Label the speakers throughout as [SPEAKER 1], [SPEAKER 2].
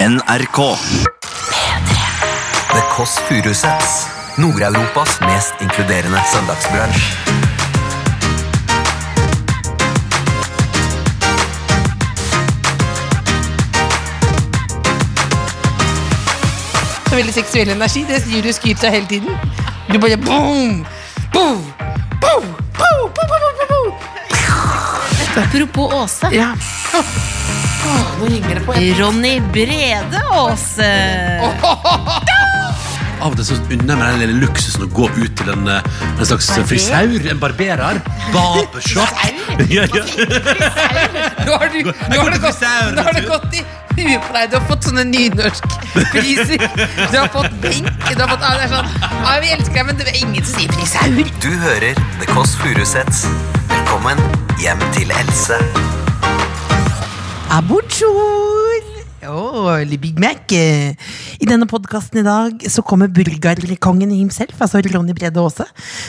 [SPEAKER 1] NRK.
[SPEAKER 2] The Kåss Furuseths. Nord-Europas mest inkluderende søndagsbransj.
[SPEAKER 3] Så veldig seksuell energi. Det hjulet skyter seg hele tiden. Du bare boom, boom, boom, boom, boom, boom, boom, boom.
[SPEAKER 4] Apropos Åse.
[SPEAKER 3] Ja. Åh, nå ringer det på. Jeg
[SPEAKER 4] Ronny Brede Aase.
[SPEAKER 5] Av og til så unner jeg meg den lille luksusen å gå ut til en, eh, en slags frisaur, en barberer. Barbershop. Ja, ja.
[SPEAKER 3] Nå har, du, nå har det gått, nå har det gått i huet på deg. Du har fått sånne nynorskpriser. Du har fått benk. Du har fått, ah, det er sånn, ah, vi elsker deg, men det er ingen som sier prisaur.
[SPEAKER 2] Du hører The Kåss Furuseths. Velkommen hjem til Else.
[SPEAKER 3] Abonjour! Oh, Big Mac. Eh, I denne podkasten i dag så kommer burgerkongen himself, altså Ronny Brede Aase.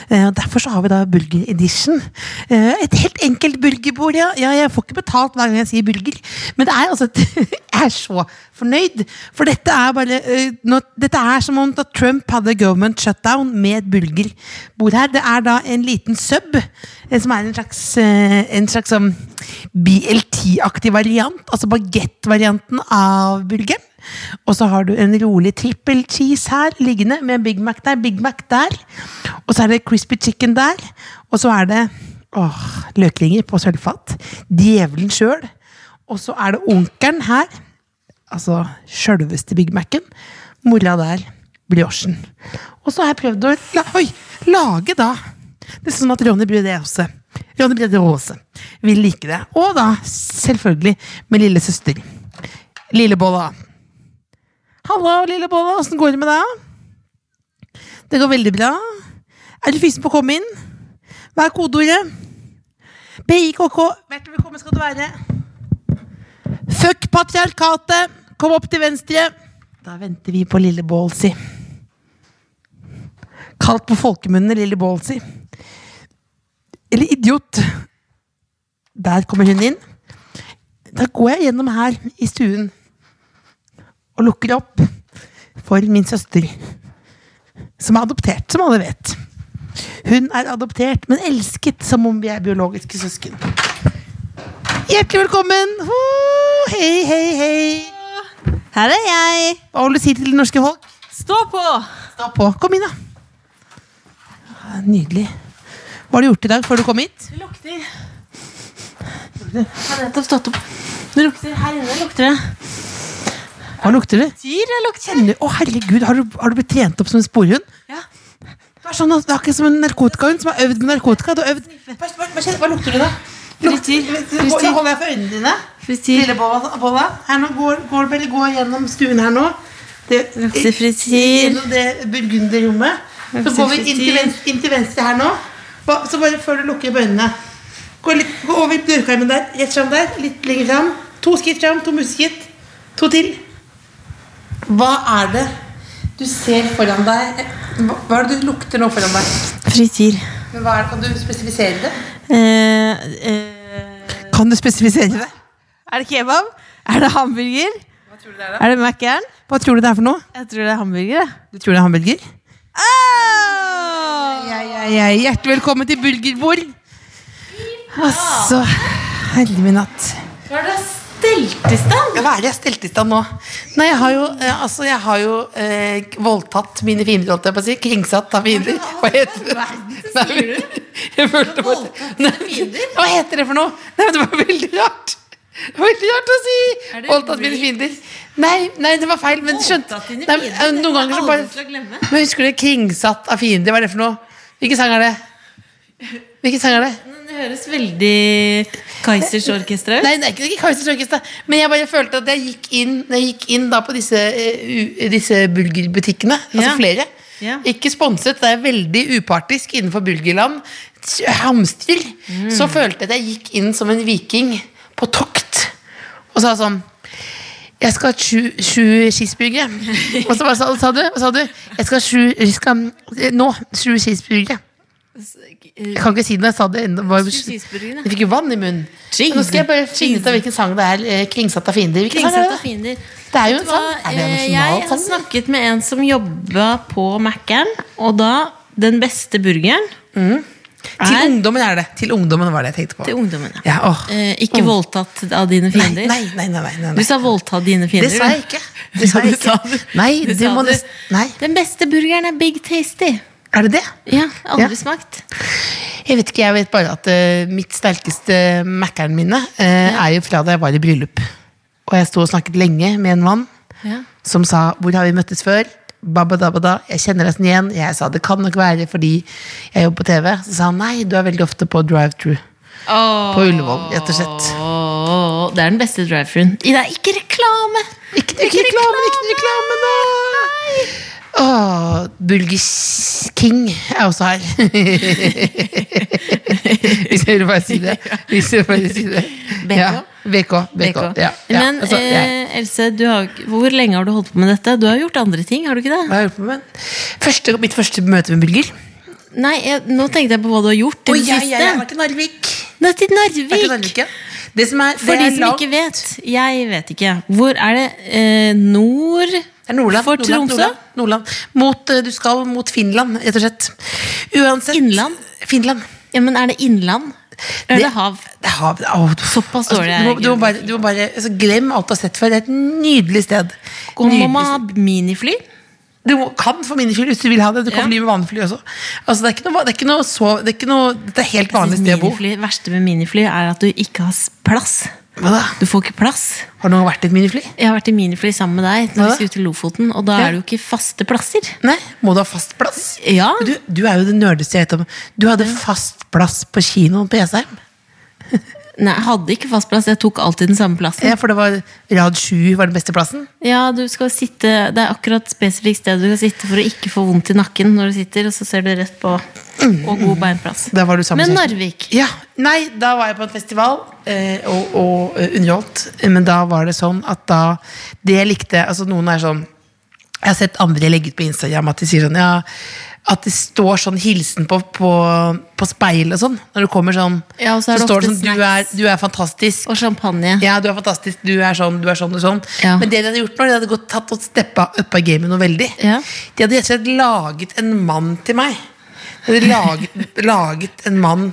[SPEAKER 3] Eh, og Derfor så har vi da Burger Edition. Eh, Et helt enkelt burgerbord. Ja. ja, jeg får ikke betalt hver gang jeg sier burger, men det er altså et- Jeg er så fornøyd, for dette er bare eh, nå- Dette er som om da Trump hadde government shutdown med et burgerbord her. Det er da en liten sub, eh, som er en slags, eh, en slags sånn BLT-aktig variant, altså baguette-varianten av burgeren. Og så har du en rolig triple cheese her, liggende med Big Mac der, Big Mac der. Og så er det crispy chicken der. Og så er det åh, løkringer på sølvfat. Djevelen sjøl. Og så er det onkelen her. Altså sjølveste Big Mac-en. Mora der. Briochen. Og så har jeg prøvd å la, oi, lage da Det er sånn at Ronny Brede også Ronny Brede Aase vil like det. Og da selvfølgelig med lillesøster. Lillebolla. Hallo, Lillebolla. Åssen går det med deg? Det går veldig bra. Er du fysen på å komme inn? Hva er kodeordet? BIKK. Hjertelig velkommen skal du være. Fuck patriarkatet! Kom opp til venstre! Da venter vi på lille Baalsi. Kalt på folkemunne lille Baalsi. Eller idiot. Der kommer hun inn. Da går jeg gjennom her i stuen og lukker opp for min søster, som er adoptert, som alle vet. Hun er adoptert, men elsket som om vi er biologiske søsken. Hjertelig velkommen! Ho, hei, hei, hei.
[SPEAKER 4] Her er jeg.
[SPEAKER 3] Hva vil du si til det norske folk?
[SPEAKER 4] Stå på.
[SPEAKER 3] Stå på. Kom inn, da. Nydelig. Hva har du gjort i dag før du kom hit?
[SPEAKER 4] Det lukter. Jeg har nettopp stått opp. Det lukter her inne. lukter det.
[SPEAKER 3] Hva lukter det?
[SPEAKER 4] Dyr det lukter.
[SPEAKER 3] Kjenner, å herregud, har du, har du blitt trent opp som en sporhund?
[SPEAKER 4] Ja.
[SPEAKER 3] Du er, sånn, at- du er ikke som en narkotikahund som har øvd med narkotika. Du har øvd. Hva, hva, hva, hva lukter det, da?
[SPEAKER 4] Frityr.
[SPEAKER 3] Nå
[SPEAKER 4] Frityr.
[SPEAKER 3] holder jeg for øynene dine.
[SPEAKER 4] Frityr.
[SPEAKER 3] Lille Bolla, Bolla, her nå går, går, Belle går gjennom stuen her nå. Det,
[SPEAKER 4] Lukter frityr.
[SPEAKER 3] Gjennom det burgunderrommet. Så
[SPEAKER 4] Lukter
[SPEAKER 3] går vi inn til,
[SPEAKER 4] frityr.
[SPEAKER 3] venstre, inn til venstre her nå. Ba- Så bare før du lukker opp øynene. Gå, litt, gå over i dørkarmen der. Rett fram der. Litt lenger fram. To skritt fram, to museskritt. To til. Hva er det du ser foran deg? Hva, hva er det du lukter nå foran deg?
[SPEAKER 4] Frityr.
[SPEAKER 3] Men hva er det, Kan du spesifisere det?
[SPEAKER 4] Eh, eh,
[SPEAKER 3] Kan du spesifisere det?
[SPEAKER 4] er det kebab? Er det hamburger? Er det Mac-eren?
[SPEAKER 3] Hva tror du det er for noe?
[SPEAKER 4] Jeg tror det er hamburger. jeg.
[SPEAKER 3] Du tror det er hamburger?
[SPEAKER 4] Au!
[SPEAKER 3] Ja, ja, ja. Hjertelig velkommen til bulgerbord. Altså, herlig min natt.
[SPEAKER 4] Hva er det stelt i stand?
[SPEAKER 3] Ja, Hva er det jeg stelte i stand nå? Nei, Jeg har jo, eh, altså, jeg har jo eh, voldtatt mine fiender, holdt jeg på å si. Kringsatt av fiender. Hva heter det? Nei, men- Jeg følte bare Nei, Hva heter det for noe? Nei, men Det var veldig rart. Det var veldig rart å si!
[SPEAKER 4] Er det
[SPEAKER 3] Voldtatt mine fiender. Nei, nei, det var feil. Men skjønte
[SPEAKER 4] Voldtatt dine
[SPEAKER 3] Nei,
[SPEAKER 4] fiender?
[SPEAKER 3] men, eh, Noen
[SPEAKER 4] Det er
[SPEAKER 3] ganger så
[SPEAKER 4] aldri
[SPEAKER 3] bare
[SPEAKER 4] til å glemme.
[SPEAKER 3] Men husker du 'Kringsatt av fiender'? Hva er det for noe? Hvilken sang er det? Hvilken sang er det?
[SPEAKER 4] Det høres veldig Kaizers orkester ut.
[SPEAKER 3] Nei, det er ikke, det er ikke Kaizers Orkester. Men jeg bare følte at jeg gikk inn Når jeg gikk inn da på disse, eh, u- disse bulgerbutikkene. Altså
[SPEAKER 4] Ja.
[SPEAKER 3] flere.
[SPEAKER 4] Ja.
[SPEAKER 3] Ikke sponset. Det er veldig upartisk innenfor bulgerland. S- Hamstrer.
[SPEAKER 4] Mm.
[SPEAKER 3] Så følte jeg at jeg gikk inn som en viking på tokt. Og sa sånn jeg skal ha sju, sju cheeseburgere. Og så bare sa, sa du, hva sa du? Jeg skal ha sju jeg skal, eh, Nå, sju cheeseburgere. Jeg kan ikke si det når jeg sa det. enda, bare-
[SPEAKER 4] eh, Sju cheeseburgere.
[SPEAKER 3] Jeg fikk jo vann i munnen.
[SPEAKER 4] Cheese.
[SPEAKER 3] Nå skal jeg bare finne ut av hvilken sang det er. eh, Kringsatt av fiender. Hvilken sang er
[SPEAKER 4] Kringsatt av
[SPEAKER 3] det?
[SPEAKER 4] fiender.
[SPEAKER 6] Det er jo en
[SPEAKER 4] Hva,
[SPEAKER 6] sang.
[SPEAKER 7] Er det en nasjonal sånn?
[SPEAKER 4] eh, jeg
[SPEAKER 7] sang,
[SPEAKER 4] har
[SPEAKER 7] eller?
[SPEAKER 4] snakket med en som jobba på Mækkern, og da den beste burgeren
[SPEAKER 7] Til
[SPEAKER 4] er
[SPEAKER 7] ungdommen er det. Til ungdommen var det jeg tenkte på.
[SPEAKER 4] til ungdommene.
[SPEAKER 7] Ja, åh.
[SPEAKER 4] Eh, ikke voldtatt av dine
[SPEAKER 7] Nei,
[SPEAKER 4] fiender.
[SPEAKER 7] nei, nei, nei, nei,
[SPEAKER 4] Du
[SPEAKER 7] nei.
[SPEAKER 4] sa 'voldta dine fiender'.
[SPEAKER 7] Det sa jeg
[SPEAKER 4] du.
[SPEAKER 7] ikke. Det sa
[SPEAKER 4] Ja,
[SPEAKER 7] jeg
[SPEAKER 4] du sa
[SPEAKER 7] ikke.
[SPEAKER 4] det.
[SPEAKER 7] Nei,
[SPEAKER 4] Det
[SPEAKER 7] du
[SPEAKER 4] sa
[SPEAKER 7] må
[SPEAKER 4] du.
[SPEAKER 7] nes- Nei,
[SPEAKER 4] Den beste burgeren er Big Tasty.
[SPEAKER 7] er det det?
[SPEAKER 4] Ja, aldri
[SPEAKER 7] Ja.
[SPEAKER 4] smakt.
[SPEAKER 7] Jeg vet ikke, jeg vet bare at eh, mitt sterkeste Mac-eren mine eh, er jo fra da jeg var i bryllup. Og jeg sto og snakket lenge med en mann
[SPEAKER 4] Ja.
[SPEAKER 7] som sa 'Hvor har vi møttes før?' Babadabada, jeg kjenner deg nesten igjen. Jeg sa det kan nok være fordi jeg jobber på TV. Så sa han nei, du er veldig ofte på drive-through. På Ullevål, rett og slett.
[SPEAKER 4] Åh, det er den beste drive-thruen. I- Det er ikke reklame!
[SPEAKER 7] Ikke, ikke reklame, ikke reklame, da! Åh, Burger King er også her. Hvis jeg vil bare si det. Hvis jeg vil bare si det.
[SPEAKER 4] BK?
[SPEAKER 7] Ja, BK. BK.
[SPEAKER 4] BK.
[SPEAKER 7] Ja, ja.
[SPEAKER 4] Men
[SPEAKER 7] altså, jeg-
[SPEAKER 4] eh, Else, du har, ikke- hvor lenge har du holdt på med dette? Du har gjort andre ting, har du ikke det?
[SPEAKER 7] Hva har jeg gjort på med? Første, mitt første møte med Bulger.
[SPEAKER 4] Nei, jeg, nå tenkte jeg på hva du har gjort til det siste.
[SPEAKER 7] til Narvik.
[SPEAKER 4] Nei, til
[SPEAKER 7] Vært i
[SPEAKER 4] Narvik!
[SPEAKER 7] Narvik, ja. Det som er, det
[SPEAKER 4] For de
[SPEAKER 7] er
[SPEAKER 4] som
[SPEAKER 7] langt-
[SPEAKER 4] ikke vet. Jeg vet ikke. Hvor er det? Eh, nord
[SPEAKER 7] Det er Nordland.
[SPEAKER 4] For
[SPEAKER 7] Nordland,
[SPEAKER 4] Tromsø?
[SPEAKER 7] Nordland, Nordland. Mot, eh, du skal mot Finland, rett og slett. Uansett.
[SPEAKER 4] Innland?
[SPEAKER 7] Finland.
[SPEAKER 4] Ja, men er det innland? Eller er det hav?
[SPEAKER 7] Det er hav. Åh, du-
[SPEAKER 4] Såpass dårlig
[SPEAKER 7] altså, du, må, du må
[SPEAKER 4] er geografi.
[SPEAKER 7] bare, du må bare altså, Glem alt du har sett før. Det er et nydelig sted.
[SPEAKER 4] Og må
[SPEAKER 7] Nydelig
[SPEAKER 4] man
[SPEAKER 7] sted.
[SPEAKER 4] ha minifly?
[SPEAKER 7] Du må, kan få minifly hvis du vil ha det. Du kan
[SPEAKER 4] Ja.
[SPEAKER 7] bli med vanlig også. Altså, det, er ikke noe, det er ikke noe så Det er, ikke noe, det er helt vanlig sted å bo.
[SPEAKER 4] Minifly, verste med minifly er at du ikke har s- plass.
[SPEAKER 7] Hva da?
[SPEAKER 4] Du får ikke plass.
[SPEAKER 7] Har du noen gang vært i et minifly?
[SPEAKER 4] Jeg har vært i minifly sammen med deg
[SPEAKER 7] Hva da?
[SPEAKER 4] når vi skulle til Lofoten, og da
[SPEAKER 7] Ja.
[SPEAKER 4] er det jo ikke faste plasser.
[SPEAKER 7] Nei, Må du ha fast plass?
[SPEAKER 4] Ja,
[SPEAKER 7] Du, du er jo det nerdeste jeg vet om. Du hadde fast plass på kinoen på Jessheim.
[SPEAKER 4] Nei, jeg hadde ikke fast plass, jeg tok alltid den samme plassen.
[SPEAKER 7] Ja, for det var rad 7 var den beste plassen.
[SPEAKER 4] Ja, du skal sitte, Det er akkurat spesifikt sted du skal sitte for å ikke få vondt i nakken når du sitter, og så ser du rett på. Og god beinplass.
[SPEAKER 7] Da var du sammen
[SPEAKER 4] Men
[SPEAKER 7] med kjæresten.
[SPEAKER 4] Narvik
[SPEAKER 7] Ja, Nei, da var jeg på en festival eh, og, og eh, underholdt. Men da var det sånn at da Det jeg likte Altså, noen er sånn Jeg har sett andre legge ut på Instagram at de sier sånn ja, At det står sånn hilsen på, på, på speil og sånn. Når det kommer sånn,
[SPEAKER 4] Ja, og så er det
[SPEAKER 7] står det
[SPEAKER 4] ofte
[SPEAKER 7] sånn du er,
[SPEAKER 4] snacks.
[SPEAKER 7] du er fantastisk.
[SPEAKER 4] og champagne.
[SPEAKER 7] Ja, du er fantastisk, du er sånn, du er sånn og sånn.
[SPEAKER 4] Ja.
[SPEAKER 7] Men det de hadde gjort nå, de hadde gått tatt og steppa opp av gamet noe veldig.
[SPEAKER 4] Ja.
[SPEAKER 7] De hadde rett og slett laget en mann til meg. De hadde laget, laget en mann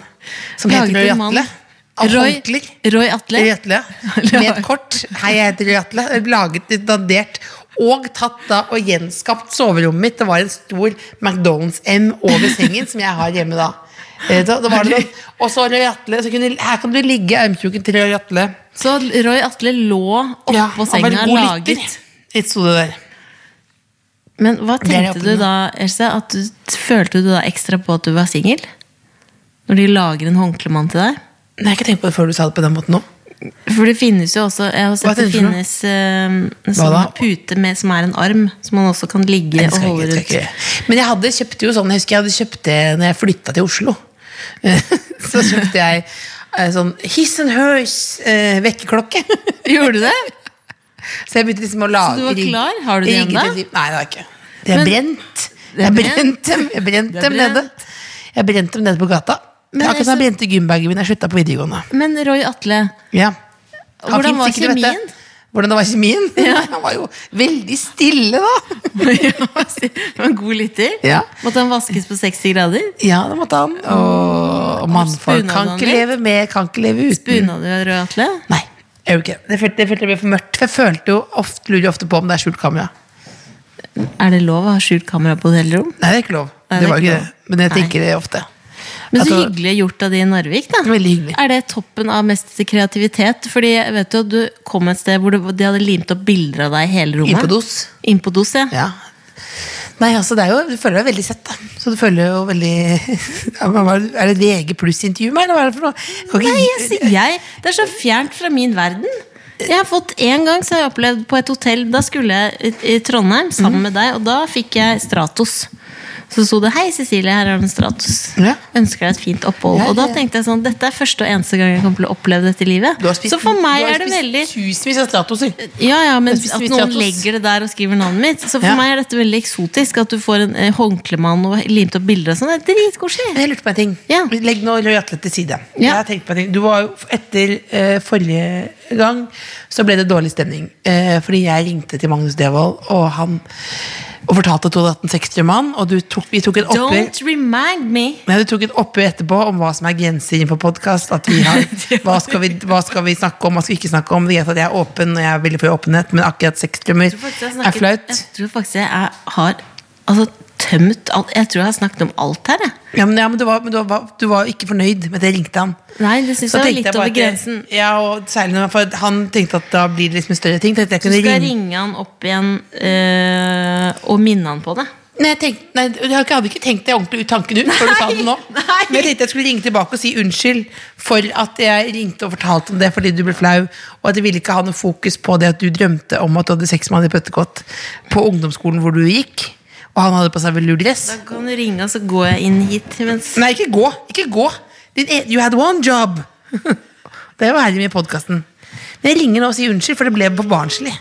[SPEAKER 7] som
[SPEAKER 4] Laget
[SPEAKER 7] heter Roy
[SPEAKER 4] en mann.
[SPEAKER 7] Atle. Av
[SPEAKER 4] Roy,
[SPEAKER 7] håndklær.
[SPEAKER 4] Roy Atle.
[SPEAKER 7] Roy Atle, ja. Med et kort. Hei, jeg heter Roy Atle. Laget, dandert og tatt da og gjenskapt soverommet mitt. Det var en stor McDonald's M over sengen som jeg har hjemme da. Eh, Da, da var det sånn. Og så Roy Atle. Så kunne, her kan du ligge i armkroken til Roy Atle.
[SPEAKER 4] Så Roy Atle lå oppå
[SPEAKER 7] Ja,
[SPEAKER 4] på
[SPEAKER 7] han var en
[SPEAKER 4] senga
[SPEAKER 7] god
[SPEAKER 4] laget
[SPEAKER 7] lytter. Litt sto det der.
[SPEAKER 4] Men hva
[SPEAKER 7] Det er det
[SPEAKER 4] tenkte
[SPEAKER 7] åpne.
[SPEAKER 4] du da, Else? At du, følte du da ekstra på at du var singel? Når de lager en håndklemann til deg?
[SPEAKER 7] Nei, jeg har ikke tenkt på det før du sa det på den måten nå.
[SPEAKER 4] For det finnes jo også Jeg har
[SPEAKER 7] Hva
[SPEAKER 4] sett det
[SPEAKER 7] tenker du?
[SPEAKER 4] finnes eh, en
[SPEAKER 7] Hva
[SPEAKER 4] sånn
[SPEAKER 7] da?
[SPEAKER 4] pute med, som er en arm, som man også kan ligge
[SPEAKER 7] Nei, det
[SPEAKER 4] og
[SPEAKER 7] skal jeg
[SPEAKER 4] holde
[SPEAKER 7] ikke, det
[SPEAKER 4] rundt.
[SPEAKER 7] skal jeg ikke. Men jeg hadde kjøpt jo sånn, jeg husker jeg hadde kjøpt det når jeg flytta til Oslo. Så kjøpte jeg eh, sånn Hiss and Hers eh, vekkerklokke.
[SPEAKER 4] Gjorde du det?
[SPEAKER 7] Så jeg begynte liksom å lage
[SPEAKER 4] Så du var
[SPEAKER 7] rigg-
[SPEAKER 4] klar? Har du det
[SPEAKER 7] rigget
[SPEAKER 4] igjen da?
[SPEAKER 7] et liv. Nei, det har jeg ikke. Det er
[SPEAKER 4] Men-
[SPEAKER 7] brent.
[SPEAKER 4] Det er
[SPEAKER 7] Jeg
[SPEAKER 4] brent.
[SPEAKER 7] brente dem, jeg brente
[SPEAKER 4] Det er
[SPEAKER 7] dem nede.
[SPEAKER 4] brent.
[SPEAKER 7] Jeg brente dem nede på gata. Det
[SPEAKER 4] Men
[SPEAKER 7] er akkurat som
[SPEAKER 4] altså-
[SPEAKER 7] jeg brente gymbagen min da jeg slutta på videregående.
[SPEAKER 4] Men Roy Atle,
[SPEAKER 7] Ja. Han
[SPEAKER 4] Hvordan
[SPEAKER 7] finnes
[SPEAKER 4] var
[SPEAKER 7] ikke, du vet det.
[SPEAKER 4] kjemien?
[SPEAKER 7] Hvordan det var kjemien? Han var jo veldig stille, da.
[SPEAKER 4] var en god lytter.
[SPEAKER 7] Ja.
[SPEAKER 4] Måtte han vaskes på 60 grader?
[SPEAKER 7] Ja, det måtte han. Og, og mannfolk
[SPEAKER 4] spunnet
[SPEAKER 7] kan
[SPEAKER 4] han
[SPEAKER 7] ikke
[SPEAKER 4] litt?
[SPEAKER 7] leve med, kan ikke leve uten.
[SPEAKER 4] Bunad du Roy Atle?
[SPEAKER 7] Nei, jeg gjorde ikke det. Det følte, det følte jeg ble for mørkt. For jeg følte jo ofte, lurer jo ofte på om det er skjult kamera.
[SPEAKER 4] Er det lov å ha skjult kamera på hotellrom?
[SPEAKER 7] Nei, det er ikke lov.
[SPEAKER 4] Nei,
[SPEAKER 7] det var jo
[SPEAKER 4] ikke
[SPEAKER 7] ikke
[SPEAKER 4] lov.
[SPEAKER 7] det. Men jeg
[SPEAKER 4] Nei.
[SPEAKER 7] tenker det ofte.
[SPEAKER 4] Men
[SPEAKER 7] At
[SPEAKER 4] så
[SPEAKER 7] det-
[SPEAKER 4] hyggelig gjort av de i Narvik, da.
[SPEAKER 7] Veldig hyggelig.
[SPEAKER 4] Er det toppen av mest kreativitet? Fordi jeg vet jo, at du kom et sted hvor du- de hadde limt opp bilder av deg i hele rommet.
[SPEAKER 7] Inn på dos.
[SPEAKER 4] Inn på dos, ja.
[SPEAKER 7] Ja. Nei, altså det er jo, Du føler deg veldig sett, da. Så du føler jo veldig ja, men hva Er det- er det VG pluss-intervju med meg, eller hva er det for noe? Kan ikke
[SPEAKER 4] Nei,
[SPEAKER 7] gi-
[SPEAKER 4] jeg, sier- jeg, det er så fjernt fra min verden. Jeg har fått En gang så har
[SPEAKER 1] Mhm.
[SPEAKER 4] jeg opplevd på et hotell Da skulle jeg i, i Trondheim sammen med deg, og da fikk jeg Stratos. Så sto det 'Hei, Cecilie, her er det en Stratos'.
[SPEAKER 3] Ja.
[SPEAKER 4] Ønsker deg et fint opphold.
[SPEAKER 1] Ja, ja,
[SPEAKER 4] Og da
[SPEAKER 1] ja.
[SPEAKER 4] tenkte jeg sånn Dette er første og eneste gang jeg kommer til å oppleve dette i livet.
[SPEAKER 1] Du har spist,
[SPEAKER 4] Så for meg
[SPEAKER 1] du har
[SPEAKER 4] er det
[SPEAKER 1] spist
[SPEAKER 4] veldig
[SPEAKER 1] tusenvis av stratoser.
[SPEAKER 4] ja, ja, men
[SPEAKER 1] Jeg spiser
[SPEAKER 4] at
[SPEAKER 1] mye
[SPEAKER 4] noen
[SPEAKER 1] tatos.
[SPEAKER 4] legger det der og skriver navnet mitt. Så for
[SPEAKER 1] Ja.
[SPEAKER 4] meg er dette veldig eksotisk. At du får en eh, håndklemann og limt opp bilder og sånn. Det er
[SPEAKER 3] Men
[SPEAKER 4] dritkoselig.
[SPEAKER 3] jeg lurte på en ting.
[SPEAKER 4] Ja.
[SPEAKER 3] Legg nå Roy Atle til side.
[SPEAKER 4] Ja.
[SPEAKER 3] Jeg har tenkt på en ting. Du var jo, etter eh, forrige gang så ble det dårlig stemning. Eh, fordi jeg ringte til Magnus Devold, og han og fortalte at du hadde hatt en 60-mann, og du tok, vi tok et oppgjør.
[SPEAKER 4] Don't remind me.
[SPEAKER 3] Nei, Du tok et oppgjør etterpå om hva som er grenser innenfor podkast. Hva, skal vi- hva skal vi snakke om, hva skal vi ikke snakke om? Det er greit at jeg er åpen, og jeg er veldig for åpenhet, men akkurat sexdrømmer
[SPEAKER 4] Jeg tror faktisk jeg
[SPEAKER 3] er
[SPEAKER 4] snakket-
[SPEAKER 3] flaut.
[SPEAKER 4] Jeg tror faktisk jeg er, har altså, tømt alt. Jeg tror jeg har snakket om alt her, jeg.
[SPEAKER 3] Ja, men, ja, men, du, var, men du, var, du var ikke fornøyd med at jeg ringte han.
[SPEAKER 4] Nei, det syns
[SPEAKER 3] Så
[SPEAKER 4] jeg var
[SPEAKER 3] tenkte
[SPEAKER 4] litt
[SPEAKER 3] jeg bare
[SPEAKER 4] over
[SPEAKER 3] at jeg-
[SPEAKER 4] grensen.
[SPEAKER 3] Ja, og særlig når for Han tenkte at da blir det liksom en større ting. Tenkte jeg
[SPEAKER 4] Så
[SPEAKER 3] kunne
[SPEAKER 4] skal jeg ringe
[SPEAKER 3] ringe
[SPEAKER 4] han opp igjen eh, og minne han på det.
[SPEAKER 3] Nei, jeg, tenkte, nei, jeg hadde ikke- hadde ikke tenkt det ordentlig ut tanken ut før du sa det nå.
[SPEAKER 4] nei.
[SPEAKER 3] Men jeg tenkte jeg skulle ringe tilbake og si unnskyld for at jeg ringte og fortalte om det fordi du ble flau, og at jeg ville ikke ha noe fokus på det at du drømte om at du hadde sex med han i Pøttekott på ungdomsskolen hvor du gikk, og han hadde på seg velur dress.
[SPEAKER 4] Da kan du ringe, og så går jeg inn hit. Mens
[SPEAKER 3] Nei, ikke gå. Ikke gå. Din e you had one job. det er jo herlig med podkasten. Men jeg ringer nå og sier unnskyld, for det ble for barnslig.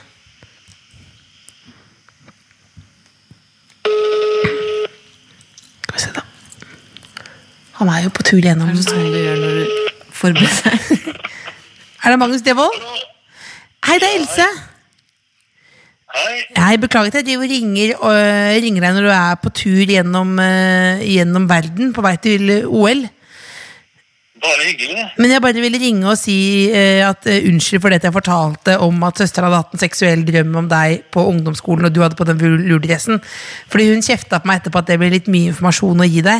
[SPEAKER 3] Skal vi se, da. Han er jo på tur gjennom.
[SPEAKER 4] Det er sånn du gjør når du forbereder deg.
[SPEAKER 3] Er det Magnus Devold? Hei, det er Else.
[SPEAKER 8] Hei.
[SPEAKER 3] Hei, Beklager at jeg driver og ringer, og eh, ringer deg når du er på tur gjennom, øh, gjennom verden, på vei til OL.
[SPEAKER 8] Bare hyggelig.
[SPEAKER 3] Men jeg bare ville ringe og si eh, at eh, unnskyld for det jeg fortalte om at søstera hadde hatt en seksuell drøm om deg på ungdomsskolen, og du hadde på den lurdressen. Fordi hun kjefta på meg etterpå at det ble litt mye informasjon å gi deg.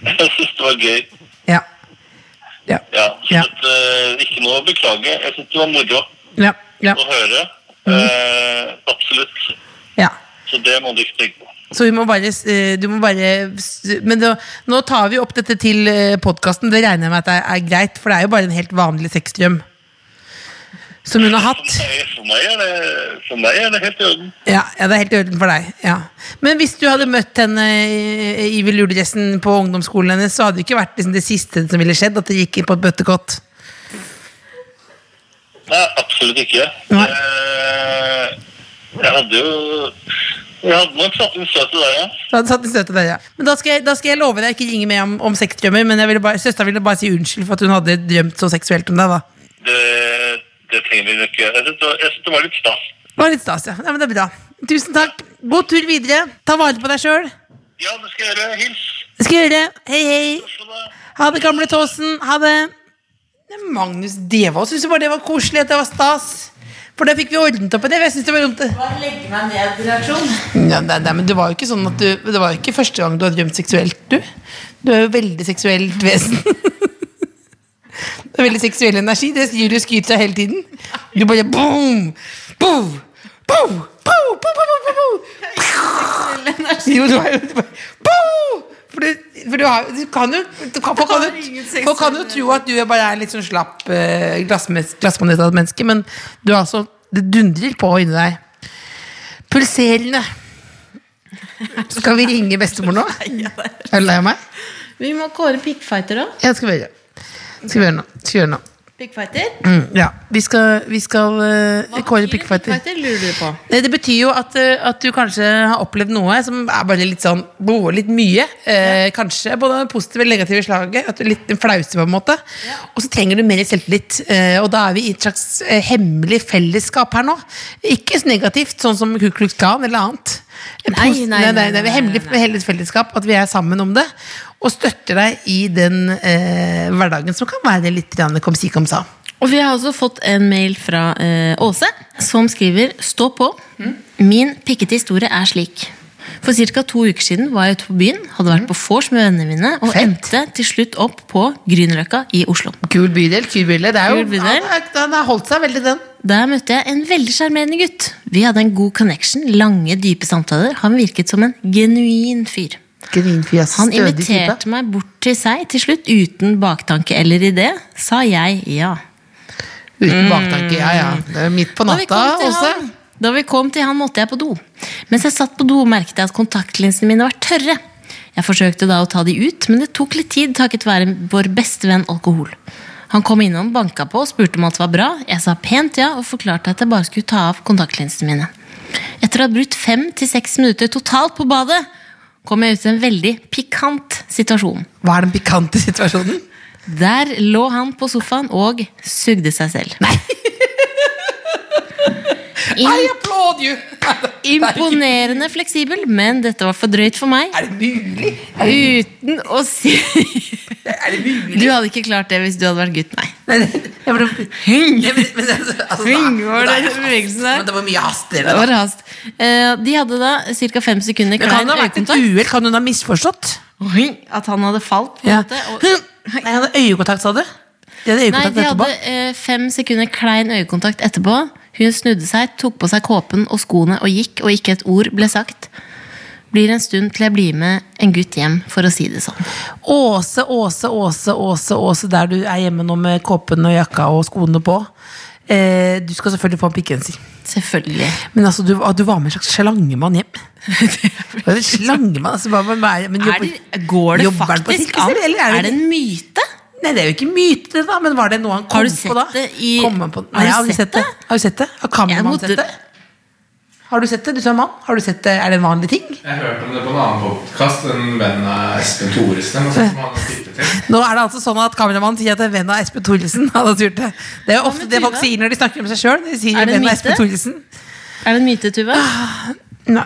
[SPEAKER 8] Jeg syns det var gøy.
[SPEAKER 3] Ja. Ja.
[SPEAKER 8] Ja.
[SPEAKER 3] Ja.
[SPEAKER 8] Så, eh, ikke noe å beklage. Jeg syns det var moro
[SPEAKER 3] Ja. Ja.
[SPEAKER 8] å høre.
[SPEAKER 3] Mhm.
[SPEAKER 8] Eh, absolutt.
[SPEAKER 3] ja.
[SPEAKER 8] Så det må du ikke tenke på.
[SPEAKER 3] Så vi må bare, s- eh, du må bare s- Men da, nå tar vi opp dette til podkasten. Det regner jeg med at er, er greit, for det er jo bare en helt vanlig sexdrøm. Som hun har hatt.
[SPEAKER 8] Nei, For meg er det, for meg er det helt i orden.
[SPEAKER 3] Ja, ja, det er helt i orden for deg. Ja. Men hvis du hadde møtt henne eh, i- i velurdressen på ungdomsskolen hennes, så hadde det ikke vært liksom, det siste som ville skjedd, at det gikk inn på et bøttekott.
[SPEAKER 8] Nei, absolutt ikke.
[SPEAKER 3] Nei.
[SPEAKER 8] Eh, jeg hadde jo Jeg hadde nok satt inn støtet der, ja.
[SPEAKER 3] Så hadde det satt en støt til deg, ja. Men da skal, jeg, da skal jeg love deg ikke ringe mer om, om sexdrømmer, men jeg ville bare, søsteren ville bare si unnskyld for at hun hadde drømt så seksuelt om deg, da.
[SPEAKER 8] Det, det trenger vi nok ikke. Jeg syns det, var- jeg synes det var litt stas.
[SPEAKER 3] Det var litt stas, ja. ja. Men det er bra. Tusen takk. God tur videre. Ta vare på deg sjøl.
[SPEAKER 8] Ja, det skal jeg gjøre. Hils.
[SPEAKER 3] Det skal jeg gjøre. Hei, hei.
[SPEAKER 8] Så da-
[SPEAKER 3] Ha det, gamle Tåsen. Ha det. Men Magnus Devold syntes jo bare det var koselig at det var stas. For da fikk vi ordnet opp i det. men Jeg synes det var dumt.
[SPEAKER 4] Bare legge meg ned i reaksjon.
[SPEAKER 3] Ja, nei, nei, men det var jo ikke sånn at du Det var jo ikke første gang du har drømt seksuelt, du. Du er jo veldig seksuelt vesen. Det er veldig seksuell energi. Det sier du og skryter av hele tiden. Du bare boom! Boom! Boom! Boom! Boom! Boom! Boom! boom, boom. Jo, du er jo du bare, boom! For, du, for du, har, du kan jo du kan, folk, kan
[SPEAKER 4] har
[SPEAKER 3] jo
[SPEAKER 4] ingen
[SPEAKER 3] folk kan jo tro at du bare er litt sånn slapp eh, glassmes- glassmanet av et menneske, men du er altså Det dundrer på inni deg. Pulserende. Skal vi ringe bestemor nå? Er du lei av meg?
[SPEAKER 4] Vi må kåre pickfighter òg.
[SPEAKER 3] Ja, det skal vi gjøre. Det Skal vi gjøre nå. Det Skal vi gjøre nå.
[SPEAKER 4] Pickfighter?
[SPEAKER 3] Mm, ja. Vi skal, vi skal uh, kåre
[SPEAKER 4] betyr
[SPEAKER 3] pickfighter.
[SPEAKER 4] lurer du på.
[SPEAKER 3] Nei, Det betyr jo at, eh, at du kanskje har opplevd noe som er bare litt sånn boh, litt mye. Eh, Kanskje både det positive og negative slaget. At du er litt flause, på en måte. Og så trenger du mer selvtillit. Eh, og da er vi i et slags eh, hemmelig fellesskap her nå. Ikke så negativt, sånn som Ku Klux Klan eller annet. Eh,
[SPEAKER 4] Nei,
[SPEAKER 3] posi-
[SPEAKER 4] nei, nei,
[SPEAKER 3] nei,
[SPEAKER 4] nei,
[SPEAKER 3] Hemmelig
[SPEAKER 4] nei, nei.
[SPEAKER 3] felles fellesskap, at vi er sammen om det. Og støtter deg i den eh, hverdagen som kan være litt grann kom si, kom sa.
[SPEAKER 4] Og vi har også fått en mail fra eh, Åse, som skriver Stå på. Min pikkete historie er slik. For ca. to uker siden var jeg ute på byen, hadde vært på vors med vennene mine, og
[SPEAKER 3] Fett.
[SPEAKER 4] endte til slutt opp på Grünerløkka i Oslo.
[SPEAKER 3] Kul bydel, kul bydel. Det er jo,
[SPEAKER 4] Kul bydel.
[SPEAKER 3] Ja, den har holdt seg veldig, den.
[SPEAKER 4] Der møtte jeg en veldig sjarmerende gutt. Vi hadde en god connection, lange, dype samtaler. Han virket som en genuin fyr.
[SPEAKER 3] Grinfjes,
[SPEAKER 4] Han
[SPEAKER 3] stødig type.
[SPEAKER 4] inviterte meg bort til seg til slutt, uten baktanke eller idé. Sa jeg ja.
[SPEAKER 7] Mm.
[SPEAKER 3] Uten baktanke, ja ja. Det er midt på
[SPEAKER 4] Da vi
[SPEAKER 3] natta
[SPEAKER 4] kom til
[SPEAKER 3] også.
[SPEAKER 4] ham, Da vi kom til han, måtte jeg på do. Mens jeg satt på do, merket jeg at kontaktlinsene mine var tørre. Jeg forsøkte da å ta de ut, men det tok litt tid takket være vår beste venn alkohol. Han kom innom, banka på og spurte om alt var bra. Jeg sa pent ja og forklarte at jeg bare skulle ta av kontaktlinsene mine. Etter å ha brukt fem til seks minutter totalt på badet, kom jeg ut i en veldig pikant situasjon.
[SPEAKER 7] Hva er den pikante situasjonen?
[SPEAKER 4] Der lå han på sofaen og sugde seg selv. Nei!
[SPEAKER 7] I applaud you!
[SPEAKER 4] Imponerende fleksibel, men dette var for drøyt for meg.
[SPEAKER 7] Er det mulig?
[SPEAKER 4] Uten å si
[SPEAKER 7] Er det mulig?
[SPEAKER 4] Du hadde ikke klart det hvis du hadde vært gutt, nei.
[SPEAKER 7] Nei, det- jeg bare... Nei, men- men altså, altså,
[SPEAKER 4] Sving,
[SPEAKER 7] da-
[SPEAKER 4] var det
[SPEAKER 7] da er det
[SPEAKER 4] bevegelsen
[SPEAKER 7] hast,
[SPEAKER 4] der?
[SPEAKER 7] Men det var mye hast i det.
[SPEAKER 4] Det
[SPEAKER 7] da.
[SPEAKER 4] var hast. Eh, De hadde da ca. fem sekunder
[SPEAKER 7] Men kan
[SPEAKER 4] hver
[SPEAKER 7] det ha vært et
[SPEAKER 4] øyekontakt.
[SPEAKER 7] uhell? Kan hun ha misforstått?
[SPEAKER 4] At han hadde falt. på en
[SPEAKER 7] Ja.
[SPEAKER 4] måte, og-
[SPEAKER 7] Nei, han hadde øyekontakt, sa du? De hadde
[SPEAKER 4] Nei,
[SPEAKER 7] øyekontakt
[SPEAKER 4] de
[SPEAKER 7] etterpå?
[SPEAKER 4] hadde eh, fem sekunder klein øyekontakt etterpå. Hun snudde seg, tok på seg kåpen og skoene og gikk, og ikke et ord ble sagt. Blir en stund til jeg blir med en gutt hjem, for å si det sånn.
[SPEAKER 7] Åse, Åse, Åse, Åse, Åse, der du er hjemme nå med kåpen og jakka og skoene på. Eh, du skal selvfølgelig få en pikkgenser.
[SPEAKER 4] Selvfølgelig.
[SPEAKER 7] Men altså, du, du var med en slags slangemann hjem. Var det en slangemann? Altså, hva med meg? Men
[SPEAKER 4] Er
[SPEAKER 7] jobber,
[SPEAKER 4] det, går det
[SPEAKER 7] jobber han på
[SPEAKER 4] faktisk
[SPEAKER 7] sirkuset,
[SPEAKER 4] an?
[SPEAKER 7] eller er det-
[SPEAKER 4] Er det en myte?
[SPEAKER 7] Nei, det er jo ikke myte, det da, men var det noe han kom
[SPEAKER 4] Har du sett
[SPEAKER 7] på da?
[SPEAKER 4] det i-
[SPEAKER 7] Kom han på...
[SPEAKER 4] Har
[SPEAKER 7] Nei,
[SPEAKER 4] du
[SPEAKER 7] har du
[SPEAKER 4] sett
[SPEAKER 7] sett det?
[SPEAKER 4] det?
[SPEAKER 7] Har du sett det? Har
[SPEAKER 4] Jeg
[SPEAKER 7] kameramann
[SPEAKER 4] måtte-
[SPEAKER 7] sett det? Har du sett det? Du som er mann, har du sett det? Er det en vanlig ting?
[SPEAKER 1] Jeg hørte om det på en annen podkast. En venn av Espen Thoresen. eller noe sånt som han har typet til.
[SPEAKER 7] Nå er det altså sånn at kameramannen sier at en venn av Espen Thoresen hadde gjort det. Det er jo ofte
[SPEAKER 4] med
[SPEAKER 7] det folk
[SPEAKER 4] Tuva?
[SPEAKER 7] sier når de snakker om seg sjøl. De sier
[SPEAKER 4] Er
[SPEAKER 7] en
[SPEAKER 4] det
[SPEAKER 7] venn av
[SPEAKER 4] myte?
[SPEAKER 7] Espen Thoresen.
[SPEAKER 4] Er det en myte, Tuva?
[SPEAKER 7] Nei.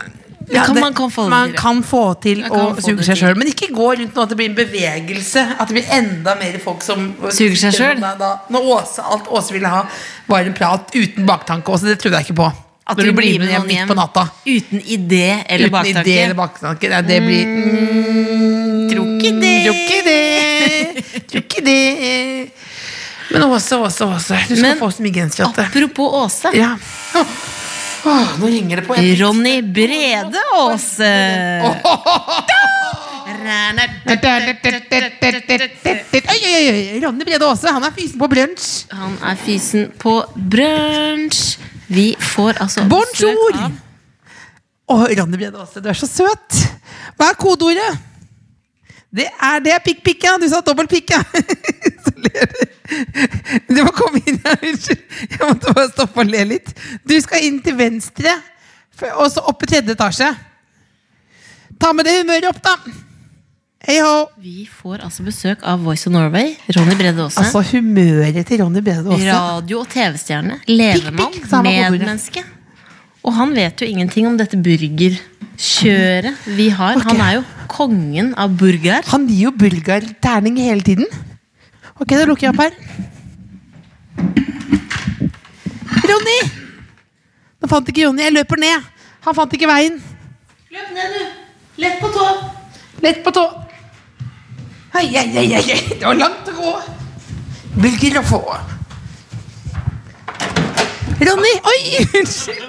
[SPEAKER 7] Ja,
[SPEAKER 4] kan-
[SPEAKER 7] det-
[SPEAKER 4] man kan få det
[SPEAKER 7] man
[SPEAKER 4] til.
[SPEAKER 7] kan få til
[SPEAKER 4] Man
[SPEAKER 7] å
[SPEAKER 4] kan få
[SPEAKER 7] suge
[SPEAKER 4] det
[SPEAKER 7] seg
[SPEAKER 4] til.
[SPEAKER 7] sjøl. Men ikke gå rundt nå at det blir en bevegelse. At det blir enda mer folk som
[SPEAKER 4] Suger seg selv?
[SPEAKER 7] Nei, da- Når Åse, alt Åse ville ha, var en prat uten baktanke. Åse, det trodde jeg ikke på.
[SPEAKER 4] At
[SPEAKER 7] Når
[SPEAKER 4] du
[SPEAKER 7] du blir
[SPEAKER 4] blir
[SPEAKER 7] med
[SPEAKER 4] med
[SPEAKER 7] hjem
[SPEAKER 4] noen
[SPEAKER 7] midt
[SPEAKER 4] hjem.
[SPEAKER 7] på natta.
[SPEAKER 4] Uten idé eller
[SPEAKER 7] Uten idé eller
[SPEAKER 4] baktanke?
[SPEAKER 7] baktanke. Nei, det blir mm,
[SPEAKER 4] Tror ikke det.
[SPEAKER 7] Tror ikke det. Tror ikke det. Men Åse, Åse, Åse. Du skal
[SPEAKER 4] Men
[SPEAKER 7] få så mye genser at det
[SPEAKER 4] Apropos Åse.
[SPEAKER 7] Ja. Åh, nå ringer det på. Jeg
[SPEAKER 4] Ronny Brede Aase.
[SPEAKER 7] Oi, oi, oi, oi, Ronny Brede Aase, han er fysen på brunsj.
[SPEAKER 4] Han er fysen på brunsj. Vi får altså besøk
[SPEAKER 7] Bonjour!
[SPEAKER 4] av-
[SPEAKER 7] Å, Ronny Brede Aase, du er så søt. Hva er kodeordet? Det er det er pikk-pikk, ja. Du sa dobbelt-pikk, ja. Så ler du. Du må komme inn her, unnskyld. Jeg måtte bare stoppe og le litt. Du skal inn til venstre, for- og så opp i tredje etasje. Ta med det humøret opp, da. Hei ho.
[SPEAKER 4] Vi får altså besøk av Voice of Norway. Ronny Brede Aase.
[SPEAKER 7] Altså, humøret til Ronny Brede Aase.
[SPEAKER 4] Radio- og TV-stjerne. Levemann.
[SPEAKER 7] Pikk, pikk, sa han på bordet.
[SPEAKER 4] Medmenneske. Og han vet jo ingenting om dette burgerkjøret vi har.
[SPEAKER 7] Ok.
[SPEAKER 4] Han er jo kongen av burger.
[SPEAKER 7] Han gir jo bulgar terning hele tiden. Ok, da lukker jeg opp her. Ronny! Nå fant ikke Ronny. Jeg løper ned. Han fant ikke veien.
[SPEAKER 4] Løp ned, du! Lett på tå!
[SPEAKER 7] Lett på tå. Hei, hei, hei, hei. hei. Det var langt å gå. Bulgar å få. Ronny! Oi! Unnskyld.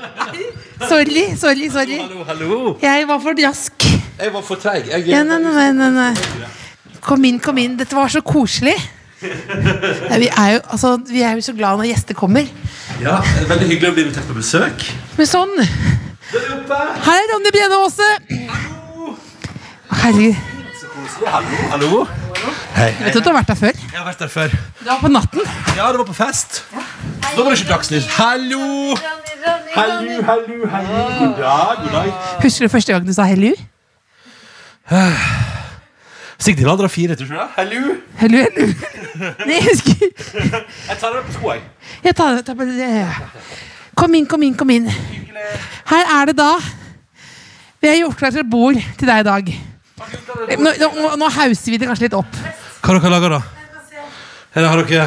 [SPEAKER 7] Sorry, sorry, sorry.
[SPEAKER 5] Hallo, hallo.
[SPEAKER 7] Jeg var for rask.
[SPEAKER 5] Jeg var for treig. Jeg,
[SPEAKER 7] Ja, nei, nei, nei, nei, nei. Kom inn, kom inn. Dette var så koselig. Nei, vi, er jo, altså, vi er jo så glad når gjester kommer.
[SPEAKER 5] Ja, det er veldig hyggelig å bli invitert på besøk.
[SPEAKER 7] Men sånn. Her er Ronny Brede Aase. Herregud.
[SPEAKER 5] Hallo, hallo.
[SPEAKER 7] Vet du at du har vært der før?
[SPEAKER 5] Jeg har vært der før.
[SPEAKER 7] Du var på natten.
[SPEAKER 5] Ja, det var på fest. Da var det ikke Dagsnytt. Hallo! Hallo, hallo, hallo. God dag, god dag.
[SPEAKER 7] Husker du første gang du sa hellu?
[SPEAKER 5] Sikkert til andre fire, tror du ikke det? Hallo.
[SPEAKER 7] Hellu, hellu. Nei, jeg husker
[SPEAKER 5] Jeg tar det på to, jeg.
[SPEAKER 7] Jeg tar, tar bare det. Kom inn, kom inn, kom inn. Her er det da Vi har gjort klart et bord til deg i dag. Nå, nå, nå hauser vi det kanskje litt opp.
[SPEAKER 5] Hva har dere laget, da? Her har dere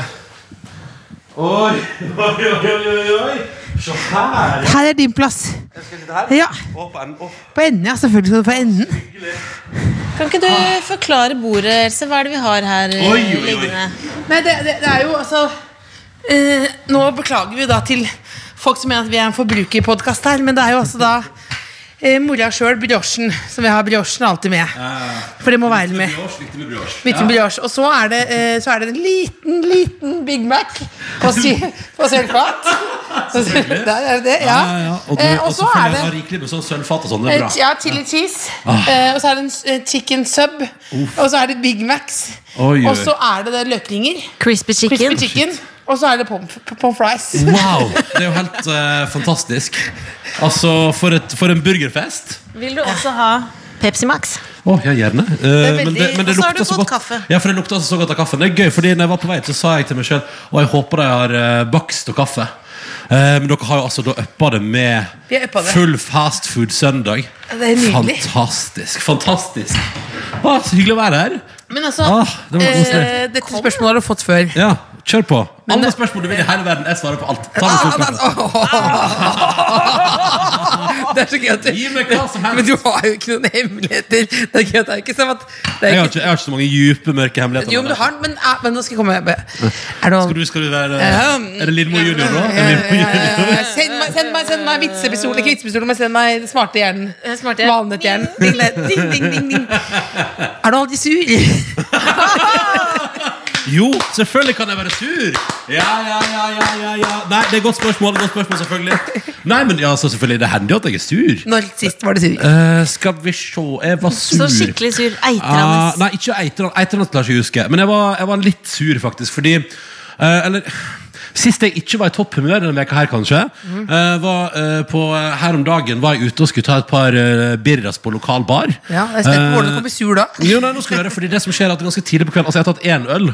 [SPEAKER 5] Oi, oi, oi, oi, oi. Se her.
[SPEAKER 7] Her er din plass.
[SPEAKER 5] Jeg skal sitte her.
[SPEAKER 7] Ja,
[SPEAKER 5] Å, på en- å,
[SPEAKER 7] På enden, ja. Selvfølgelig skal du på enden.
[SPEAKER 4] Kan ikke du
[SPEAKER 9] Ah.
[SPEAKER 4] forklare bordet, Else? Hva er det vi har her?
[SPEAKER 5] Oi, oi, oi. liggende?
[SPEAKER 7] Nei, det, det, det er jo altså eh, Nå beklager vi da til folk som mener at vi er en forbrukerpodkast her, men det er jo altså da eh, mora sjøl, brosjen, som vi har brosjen alltid med. For det må være med.
[SPEAKER 5] Brioche, likte vi brioche.
[SPEAKER 7] Liten brioche. Og så er, det, eh, så er det en liten, liten Big Mac på, sy på sølvfat.
[SPEAKER 5] selvfølgelig.
[SPEAKER 7] Der er det det, ja.
[SPEAKER 5] ja, ja. Og, du,
[SPEAKER 7] Eh, og så er
[SPEAKER 5] selvfølgelig
[SPEAKER 7] det
[SPEAKER 5] har rikelig med sånn sølvfat og sånn. Det er
[SPEAKER 7] Eh,
[SPEAKER 5] bra. Ah.
[SPEAKER 7] Ja, chili cheese. Eh, og så er det en s- eh, chicken sub. Og så er det Big Macs.
[SPEAKER 5] Oi, oi.
[SPEAKER 7] Og så er det, det løkringer.
[SPEAKER 4] Crispy
[SPEAKER 7] Crispy
[SPEAKER 4] chicken.
[SPEAKER 7] chicken. Og så er det pommes pommes fries.
[SPEAKER 5] Wow! Det er jo helt eh, fantastisk. Altså, for, et, for en burgerfest.
[SPEAKER 9] Vil du også ha Pepsi Max?
[SPEAKER 5] Å, ja, gjerne. Eh,
[SPEAKER 9] veldig-
[SPEAKER 5] men det, men det
[SPEAKER 9] Og så har
[SPEAKER 5] lukta
[SPEAKER 9] du
[SPEAKER 5] så
[SPEAKER 9] fått
[SPEAKER 5] godt.
[SPEAKER 9] kaffe.
[SPEAKER 5] Ja, for det lukta så godt av kaffen. Det er gøy, fordi når jeg var på vei ut, så sa jeg til meg sjøl Og jeg håper de har eh, bakst og kaffe. Eh, men dere har jo altså da uppa det med
[SPEAKER 7] Vi har uppa det.
[SPEAKER 5] full fast food søndag.
[SPEAKER 7] Det er nydelig.
[SPEAKER 5] Fantastisk. Fantastisk. Å, så hyggelig å være her.
[SPEAKER 7] Men altså,
[SPEAKER 5] Ah, det var koselig.
[SPEAKER 7] eh, dette spørsmålet har du fått før.
[SPEAKER 5] Ja, kjør på. Alle spørsmål du vil i hele verden. Jeg svarer på alt. Ta
[SPEAKER 7] Ah,
[SPEAKER 5] det som spørsmål.
[SPEAKER 7] Det er så gøy at du
[SPEAKER 5] Gi meg hva som helst.
[SPEAKER 7] ah. Men du har jo ikke noen hemmeligheter. Det er gøy at det er ikke som at det
[SPEAKER 5] Jeg
[SPEAKER 7] er
[SPEAKER 5] har
[SPEAKER 7] ikke,
[SPEAKER 5] ikke, jeg har ikke så mange dype, mørke hemmeligheter.
[SPEAKER 7] Jo, men du har den, men, ah, men nå skal jeg komme Er
[SPEAKER 5] Skal
[SPEAKER 7] det
[SPEAKER 5] du, skal du være
[SPEAKER 7] Eh, Ja.
[SPEAKER 5] Er det Lindmo junior nå? Er det Lindmo junior?
[SPEAKER 7] Eh, Send meg, send meg, send meg vitsepistolen. Ikke vitsepistolen, men send meg smarte hjernen.
[SPEAKER 9] smarte.
[SPEAKER 7] Valnøtthjernen. Ding, ding, ding, ding, ding. Er du aldri sur?
[SPEAKER 5] Jo, selvfølgelig kan jeg være sur! Ja, ja, ja, ja, ja, ja. Nei, det er et godt spørsmål. Godt spørsmål selvfølgelig. Nei, men ja, så selvfølgelig, det hender jo at jeg er sur.
[SPEAKER 7] Når sist var du sur?
[SPEAKER 5] Eh, skal vi se Jeg var sur.
[SPEAKER 9] Så skikkelig sur.
[SPEAKER 5] Ah,
[SPEAKER 9] Eitrende.
[SPEAKER 5] nei, ikke Eitran. Eitran klarer jeg ikke å huske. Men jeg var, jeg var litt sur, faktisk, fordi eh, Eller Sist jeg ikke var i topphumør, denne veka her kanskje
[SPEAKER 7] Mhm.
[SPEAKER 5] eh, var, eh, på, Her om dagen var jeg ute og skulle ta et par eh, birras på lokal bar.
[SPEAKER 7] Ja, jeg er spent på hvordan du
[SPEAKER 5] Eh,
[SPEAKER 7] kommer sur da.
[SPEAKER 5] jo, nei, nå skal jeg gjøre, fordi det som skjer er at det er ganske tidlig på kvelden Altså, jeg har tatt én øl,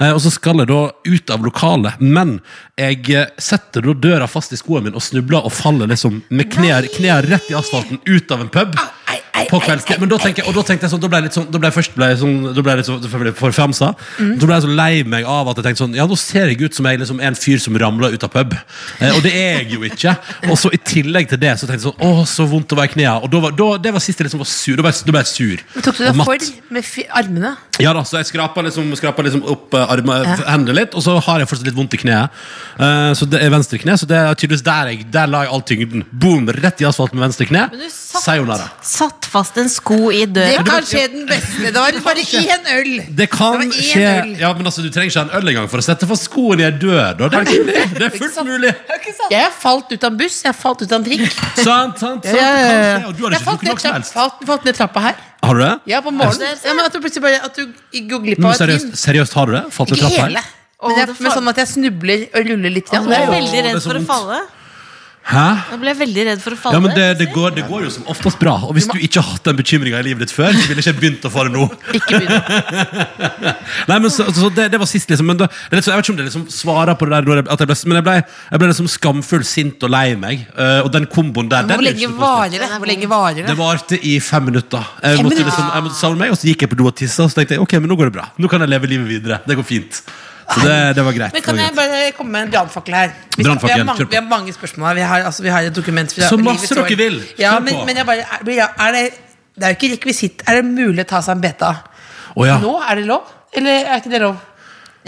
[SPEAKER 5] eh, og så skal jeg da ut av lokalet. Men jeg eh, setter da døra fast i skoen min og snubler og faller liksom med knær, knær rett i asfalten ut av en pub. På kveldstid. Men da tenker jeg, og da tenkte jeg sånn, da ble jeg litt sånn, da ble jeg først ble jeg sånn, da ble jeg litt sånn, for, for femsa.
[SPEAKER 7] Mm.
[SPEAKER 5] Da ble jeg så lei meg av at jeg tenkte sånn, ja, nå ser jeg ut som jeg liksom er en fyr som ramler ut av pub. Eh, og det er jeg jo ikke. Og så i tillegg til det, så tenkte jeg sånn, åh, så vondt å være i knea. Og da var, da, det var sist jeg liksom var sur, da ble jeg, da ble jeg sur.
[SPEAKER 7] Tok du
[SPEAKER 5] Og
[SPEAKER 7] deg
[SPEAKER 5] matt.
[SPEAKER 7] for med fi- armene?
[SPEAKER 5] Ja da, så jeg skraper liksom, skraper liksom opp eh, armen, hendene litt, og så har jeg fortsatt litt vondt i kneet. Eh, så det er venstre kne, så det er tydeligvis der jeg der la jeg all tyngden. Boom, rett i asfalten med venstre kne.
[SPEAKER 9] du satt-
[SPEAKER 5] Sayonara.
[SPEAKER 9] Satt fast en sko i
[SPEAKER 7] Eh, Det
[SPEAKER 9] døra.
[SPEAKER 7] kan skje den beste. Det var bare én øl.
[SPEAKER 5] Det kan
[SPEAKER 7] Det var én
[SPEAKER 5] skje
[SPEAKER 7] øl.
[SPEAKER 5] Ja, men altså, Du trenger ikke en øl engang for å sette fast skoen i en dør. Da. Det, er mulig. det er
[SPEAKER 7] liksom-
[SPEAKER 5] fullt mulig.
[SPEAKER 7] Jeg har falt ut av en buss, jeg har falt ut av en trikk.
[SPEAKER 5] Sant, sant, sant.
[SPEAKER 7] Ja, ja, ja.
[SPEAKER 5] det kan skje, Og du har
[SPEAKER 7] Jeg
[SPEAKER 5] ikke
[SPEAKER 7] falt
[SPEAKER 5] drukket
[SPEAKER 7] ned,
[SPEAKER 5] noe som
[SPEAKER 7] trapp,
[SPEAKER 5] helst.
[SPEAKER 7] falt, falt ned trappa her.
[SPEAKER 5] Har du det?
[SPEAKER 7] Ja, på morgenen. Ja, men at du plutselig bare At du går glipp
[SPEAKER 5] Men
[SPEAKER 7] av et
[SPEAKER 5] seriøst,
[SPEAKER 7] vind.
[SPEAKER 5] seriøst, har du det? Falt du
[SPEAKER 7] Ikke
[SPEAKER 5] trappa
[SPEAKER 7] hele.
[SPEAKER 5] her?
[SPEAKER 7] Men, jeg,
[SPEAKER 9] Å, det
[SPEAKER 7] men
[SPEAKER 9] faen.
[SPEAKER 7] sånn at jeg snubler og ruller litt. Grann.
[SPEAKER 9] Jeg ble
[SPEAKER 5] Åh,
[SPEAKER 9] veldig
[SPEAKER 5] det er
[SPEAKER 9] redd
[SPEAKER 5] så
[SPEAKER 9] for å
[SPEAKER 5] vondt.
[SPEAKER 9] falle.
[SPEAKER 5] Hæ?
[SPEAKER 9] Jeg ble veldig redd for å falle.
[SPEAKER 5] Ja, men det, det, går, det går jo som oftest bra. Og hvis du ikke har hatt den bekymringa i livet ditt før, så ville jeg ikke begynt å få det nå.
[SPEAKER 7] Ikke begynn.
[SPEAKER 5] Nei, men så, altså, så det, det var sist, liksom. Men da, det er litt så, jeg vet ikke om det liksom svarer på det der, når jeg- at jeg ble, men jeg ble, jeg ble liksom skamfull, sint og lei meg. Eh, og den komboen der, den
[SPEAKER 7] Hvor
[SPEAKER 5] er jo
[SPEAKER 7] lenge
[SPEAKER 5] ikke noe positivt.
[SPEAKER 7] varer det? Hvor lenge varer
[SPEAKER 5] Det
[SPEAKER 7] det?
[SPEAKER 5] varte i fem minutter. Jeg måtte liksom, jeg måtte samle meg, og så gikk jeg på do og tissa, og så tenkte jeg ok, men nå går det bra. Nå kan jeg leve livet videre. Det går fint. Så det, det var greit.
[SPEAKER 7] Men Kan jeg bare komme med en brannfakkel her? Vi, vi,
[SPEAKER 5] Brannfakkel,
[SPEAKER 7] har mange,
[SPEAKER 5] kjør på.
[SPEAKER 7] vi har mange spørsmål. her. Vi har, altså, vi har et dokument fra
[SPEAKER 5] Så masse
[SPEAKER 7] livets år.
[SPEAKER 5] dere vil. Kjør
[SPEAKER 7] Ja,
[SPEAKER 5] på.
[SPEAKER 7] men, men jeg bare er, blir- er det, det er jo ikke rekvisitt. Er det mulig å ta seg en beta?
[SPEAKER 5] Å, ja.
[SPEAKER 7] Nå? Er det lov? Eller er ikke det lov?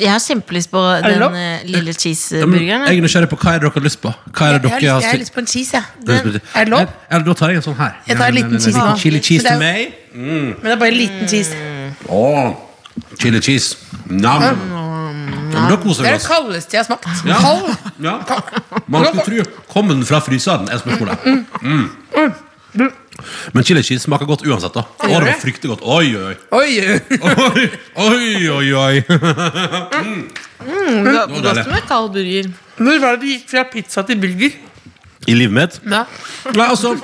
[SPEAKER 9] Jeg har kjempelyst på
[SPEAKER 7] det
[SPEAKER 9] den
[SPEAKER 7] lov?
[SPEAKER 9] eh, lille
[SPEAKER 5] Ja, men Jeg
[SPEAKER 9] cheeseburgeren.
[SPEAKER 5] er nysgjerrig på hva er det dere har lyst på. Hva er
[SPEAKER 7] Jeg har, lyst,
[SPEAKER 5] det dere har
[SPEAKER 7] jeg har
[SPEAKER 5] stilt?
[SPEAKER 7] lyst på en cheese, jeg.
[SPEAKER 5] Jeg har lyst på-
[SPEAKER 7] Er det lov?
[SPEAKER 5] Ja, da tar jeg en sånn her.
[SPEAKER 7] Jeg tar en liten cheese
[SPEAKER 5] Liten
[SPEAKER 7] nå.
[SPEAKER 5] Chili cheese
[SPEAKER 7] Men
[SPEAKER 5] til
[SPEAKER 7] det er
[SPEAKER 5] meg.
[SPEAKER 7] Men det er bare en liten cheese.
[SPEAKER 5] Åh, chili cheese. Nam. Ja, men da koser
[SPEAKER 7] Mm, Det
[SPEAKER 5] vi
[SPEAKER 7] er det
[SPEAKER 5] oss.
[SPEAKER 7] kaldeste jeg har smakt.
[SPEAKER 5] Ja.
[SPEAKER 7] Kald.
[SPEAKER 5] Ja. Man skulle tro Kom den fra fryseren, er spørsmålet. Mm. Men chili cheese smaker godt uansett. da Å, det var fryktelig godt. Oi, oi, oi.
[SPEAKER 7] Oi, oi.
[SPEAKER 5] Oi, oi, oi, oi. Mm.
[SPEAKER 9] Godt
[SPEAKER 7] Mm,
[SPEAKER 5] Nå er det deilig.
[SPEAKER 9] med kald burger.
[SPEAKER 7] Når var det du gikk fra pizza til burger?
[SPEAKER 5] I livet mitt?
[SPEAKER 7] Ja.
[SPEAKER 5] Nei, altså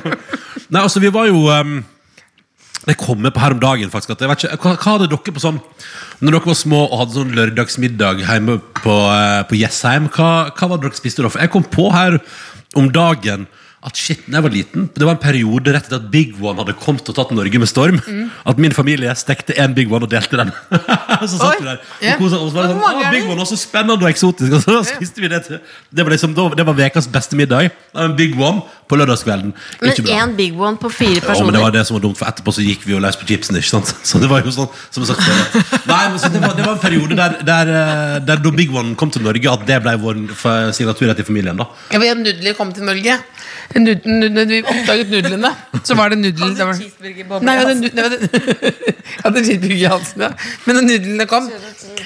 [SPEAKER 5] Nei, altså, vi var jo um, Jeg kom med på her om dagen, faktisk. At jeg vet ikke, hva, hva hadde dere på sånn Når dere var små og hadde sånn lørdagsmiddag hjemme på, eh, på Jessheim, hva, hva var det dere spiste da? For jeg kom på her om dagen at shit, da jeg var liten Det var en periode rett etter at Big One hadde kommet og tatt Norge med storm. At min familie stekte én Big One og delte den. så satt vi der og koset oss. og var Sånn, «Å, Big One var så spennende og eksotisk. Og så spiste vi det til Det var, liksom, det var vekas beste middag. Det var En Big One på lørdagskvelden. Ikke
[SPEAKER 9] Men
[SPEAKER 5] bra.
[SPEAKER 9] én big one på fire
[SPEAKER 5] Ja, men det
[SPEAKER 9] personer.
[SPEAKER 5] var det som var dumt, for etterpå så gikk vi jo løs på chipsen. ikke sant? Så Det var jo sånn, som en slags forrett. Nei, men så det, var, det var en periode der, der, eh, der da Big One kom til Norge, at det ble vår f- signaturrett i familien. da.
[SPEAKER 7] Jeg vet, Nudler kom til Norge. Nud, nud, nud, vi oppdaget nudlene. Så var det nudler det var- Nei, jeg hadde, nu- nei, jeg hadde, jeg hadde cheeseburger i halsen. Ja. Men når nudlene kom,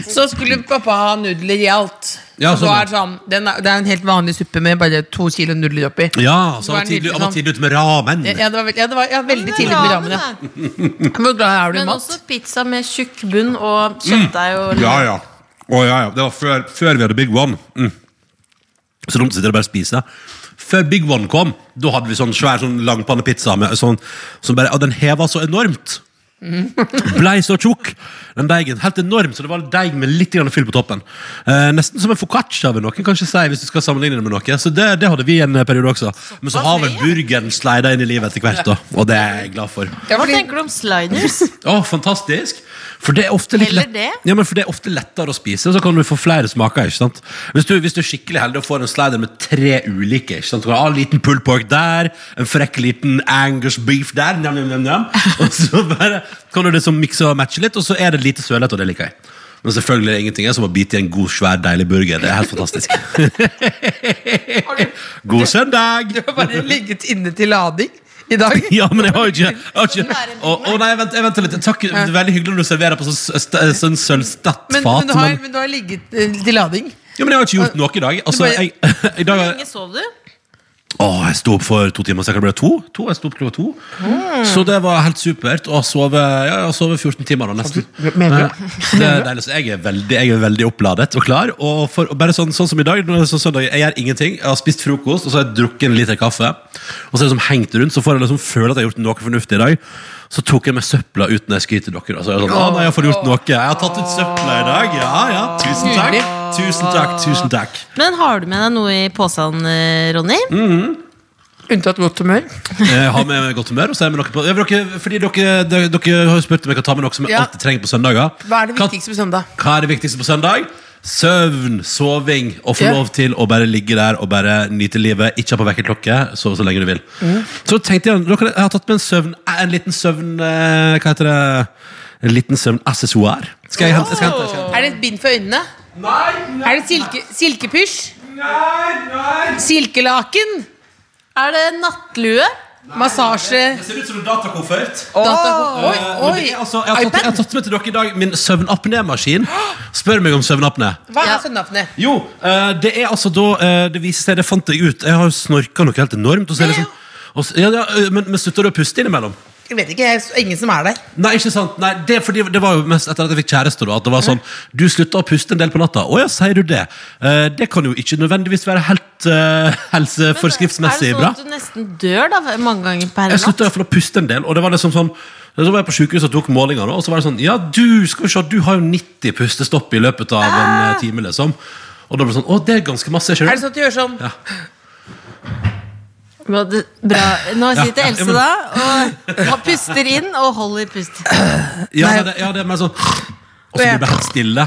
[SPEAKER 7] så skulle pappa ha nudler i alt.
[SPEAKER 5] Ja,
[SPEAKER 3] Så
[SPEAKER 5] sånn,
[SPEAKER 3] er det sånn, den er, det er en helt vanlig suppe med bare to kilo nudler oppi.
[SPEAKER 5] Ja, så han
[SPEAKER 3] Det var
[SPEAKER 5] var tidlig,
[SPEAKER 3] nydelig,
[SPEAKER 5] han var
[SPEAKER 3] sånn.
[SPEAKER 5] tidlig ute med ramen.
[SPEAKER 3] Ja, det var, veld- ja, det var ja, veldig tidlig på rammen. Ja.
[SPEAKER 4] da.
[SPEAKER 3] Hvor glad er du i
[SPEAKER 4] Men
[SPEAKER 3] mat?
[SPEAKER 4] også pizza med tjukk bunn og kjøttdeig og
[SPEAKER 5] Mm. Ja, ja. Å, ja, ja. Det var før, før vi hadde Big One. Mm. Så dumt å sitte og bare spise. Før Big One kom, da hadde vi sånn svær sånn langpannepizza med, sånn, som bare, og den heva så enormt. Blei så tjukk. Den deigen. Helt enorm, så det var deig med litt grann fyll på toppen. Eh, nesten som en foccaccia, vil noen kanskje si, hvis du skal sammenligne det med noe. Så det, det hadde vi en eh, periode også. Men så har vel burgeren sleida inn i livet etter hvert, da. Og det er jeg glad for.
[SPEAKER 3] Ja,
[SPEAKER 4] Hva
[SPEAKER 3] fordi-
[SPEAKER 4] tenker du om sliders?
[SPEAKER 5] Å, fantastisk! For det, er ofte litt
[SPEAKER 4] Heller
[SPEAKER 5] lett,
[SPEAKER 4] det?
[SPEAKER 5] ja, men for det er ofte lettere å spise, så kan du få flere smaker. ikke sant? Hvis du, hvis du er skikkelig heldig og får en slider med tre ulike ikke sant? Du kan ha en liten pulled pork der, en frekk liten Angus beef der, njam, njam, njam, njam. og så bare kan du liksom mikse og matche litt, og så er det lite sølete, og det liker jeg. Men selvfølgelig er det ingenting er som å bite i en god, svær, deilig burger. Det er helt fantastisk. God søndag!
[SPEAKER 3] Du har bare ligget inne til lading i dag.
[SPEAKER 5] Ja, men jeg har jo ikke, jeg har ikke. Å, å, nei, vent, jeg venter litt. Takk, det er veldig hyggelig når du serverer på sånn, s- st- sånn sølvstattfat.
[SPEAKER 3] Men,
[SPEAKER 5] Men,
[SPEAKER 3] men, du har, men du har ligget eh, til lading.
[SPEAKER 5] ja, men jeg har ikke gjort noe i dag. Altså, jeg, i dag har jeg-
[SPEAKER 4] Lenge sov du?
[SPEAKER 5] å, jeg sto opp for to timer, så jeg kan bli to. to jeg sto opp klokka to. Så det var helt supert. Og sove, ja, jeg har sovet 14 timer, da, nesten.
[SPEAKER 10] Mener du?
[SPEAKER 5] Så Det er deilig, så jeg er veldig, jeg er veldig oppladet og klar. Og, for, og bare sånn, sånn som i dag, nå er det sånn søndag, jeg gjør ingenting. Jeg har spist frokost, og så har jeg drukket en liter kaffe. Og så er det som hengt rundt, så får jeg liksom føle at jeg har gjort noe fornuftig i dag. Så tok jeg med søpla ut når jeg skryter dere. Og så er jeg sånn, å nei, jeg får gjort noe. Jeg har tatt ut søpla i dag. Ja, ja, tusen takk. Tusen takk, tusen takk.
[SPEAKER 4] Men har du med deg noe i posen, eh, Ronny?
[SPEAKER 5] Mm.
[SPEAKER 3] Unntatt godt humør.
[SPEAKER 5] Jeg har Eh, med meg godt humør, og så er jeg med noe på. Jeg vil Dere, fordi dere, dere, dere har jo spurt om jeg kan ta med noe som jeg
[SPEAKER 3] Ja.
[SPEAKER 5] alltid trenger på søndager.
[SPEAKER 3] Hva er det
[SPEAKER 5] Kan-
[SPEAKER 3] viktigste på søndag?
[SPEAKER 5] Hva er det viktigste på søndag? Søvn, soving og få
[SPEAKER 3] Ja.
[SPEAKER 5] lov til å bare ligge der og bare nyte livet. Ikke ha på vekkerklokke. Sove så lenge du vil.
[SPEAKER 3] Mm.
[SPEAKER 5] Så tenkte jeg dere, Jeg har tatt med en søvn En liten søvn eh, Hva heter det? En liten søvnaccessoir. Skal jeg hente? Skal jeg hente, skal jeg hente.
[SPEAKER 3] Er det et bind for øynene? Nei, Er det silke, silkepysj? Nei, nei Silkelaken?
[SPEAKER 4] Er det nattlue?
[SPEAKER 3] Massasje?
[SPEAKER 5] Det ser ut som en datakoffert.
[SPEAKER 3] Data, oi,
[SPEAKER 5] Men
[SPEAKER 3] oi!
[SPEAKER 5] det er altså, jeg, har tatt, jeg har
[SPEAKER 3] iPad?
[SPEAKER 5] tatt med til dere i dag min søvnapné-maskin. Spør meg om søvnapné.
[SPEAKER 3] Hva
[SPEAKER 4] Ja.
[SPEAKER 3] er søndagene?
[SPEAKER 5] Jo, eh, det er altså da eh, Det viser seg, det fant jeg ut. Jeg har jo snorka noe helt enormt. Og så er det
[SPEAKER 3] Ja,
[SPEAKER 5] sånn, og, så- ja, ja, eh, men, men slutter du å puste innimellom?
[SPEAKER 3] Jeg vet ikke, jeg er ingen som er der.
[SPEAKER 5] Nei, ikke sant? Nei, det, er fordi det var jo mest etter at jeg fikk kjæreste. Da, at det var sånn, Du slutta å puste en del på natta. Å ja, sier du det? Eh, det kan jo ikke nødvendigvis være helt eh, helseforskriftsmessig
[SPEAKER 4] er det sånn
[SPEAKER 5] bra.
[SPEAKER 4] at du nesten dør da mange ganger per
[SPEAKER 5] Jeg
[SPEAKER 4] natt?
[SPEAKER 5] slutta iallfall å puste en del. Og det var liksom sånn så var jeg på sykehuset og tok målinger, og så var det sånn Ja, du skal vi se, du har jo 90 pustestopp i løpet av en eh, time, liksom. Og da ble det sånn Å, det er ganske masse. ikke
[SPEAKER 3] Ah. Er det sånn at de gjør sånn?
[SPEAKER 4] Bra, det- bra. Nå sitter
[SPEAKER 5] ja, ja,
[SPEAKER 4] Else
[SPEAKER 5] men-
[SPEAKER 4] da og, og puster inn og holder pust.
[SPEAKER 5] Ja, det, ja, det er mer sånn Og så blir det helt stille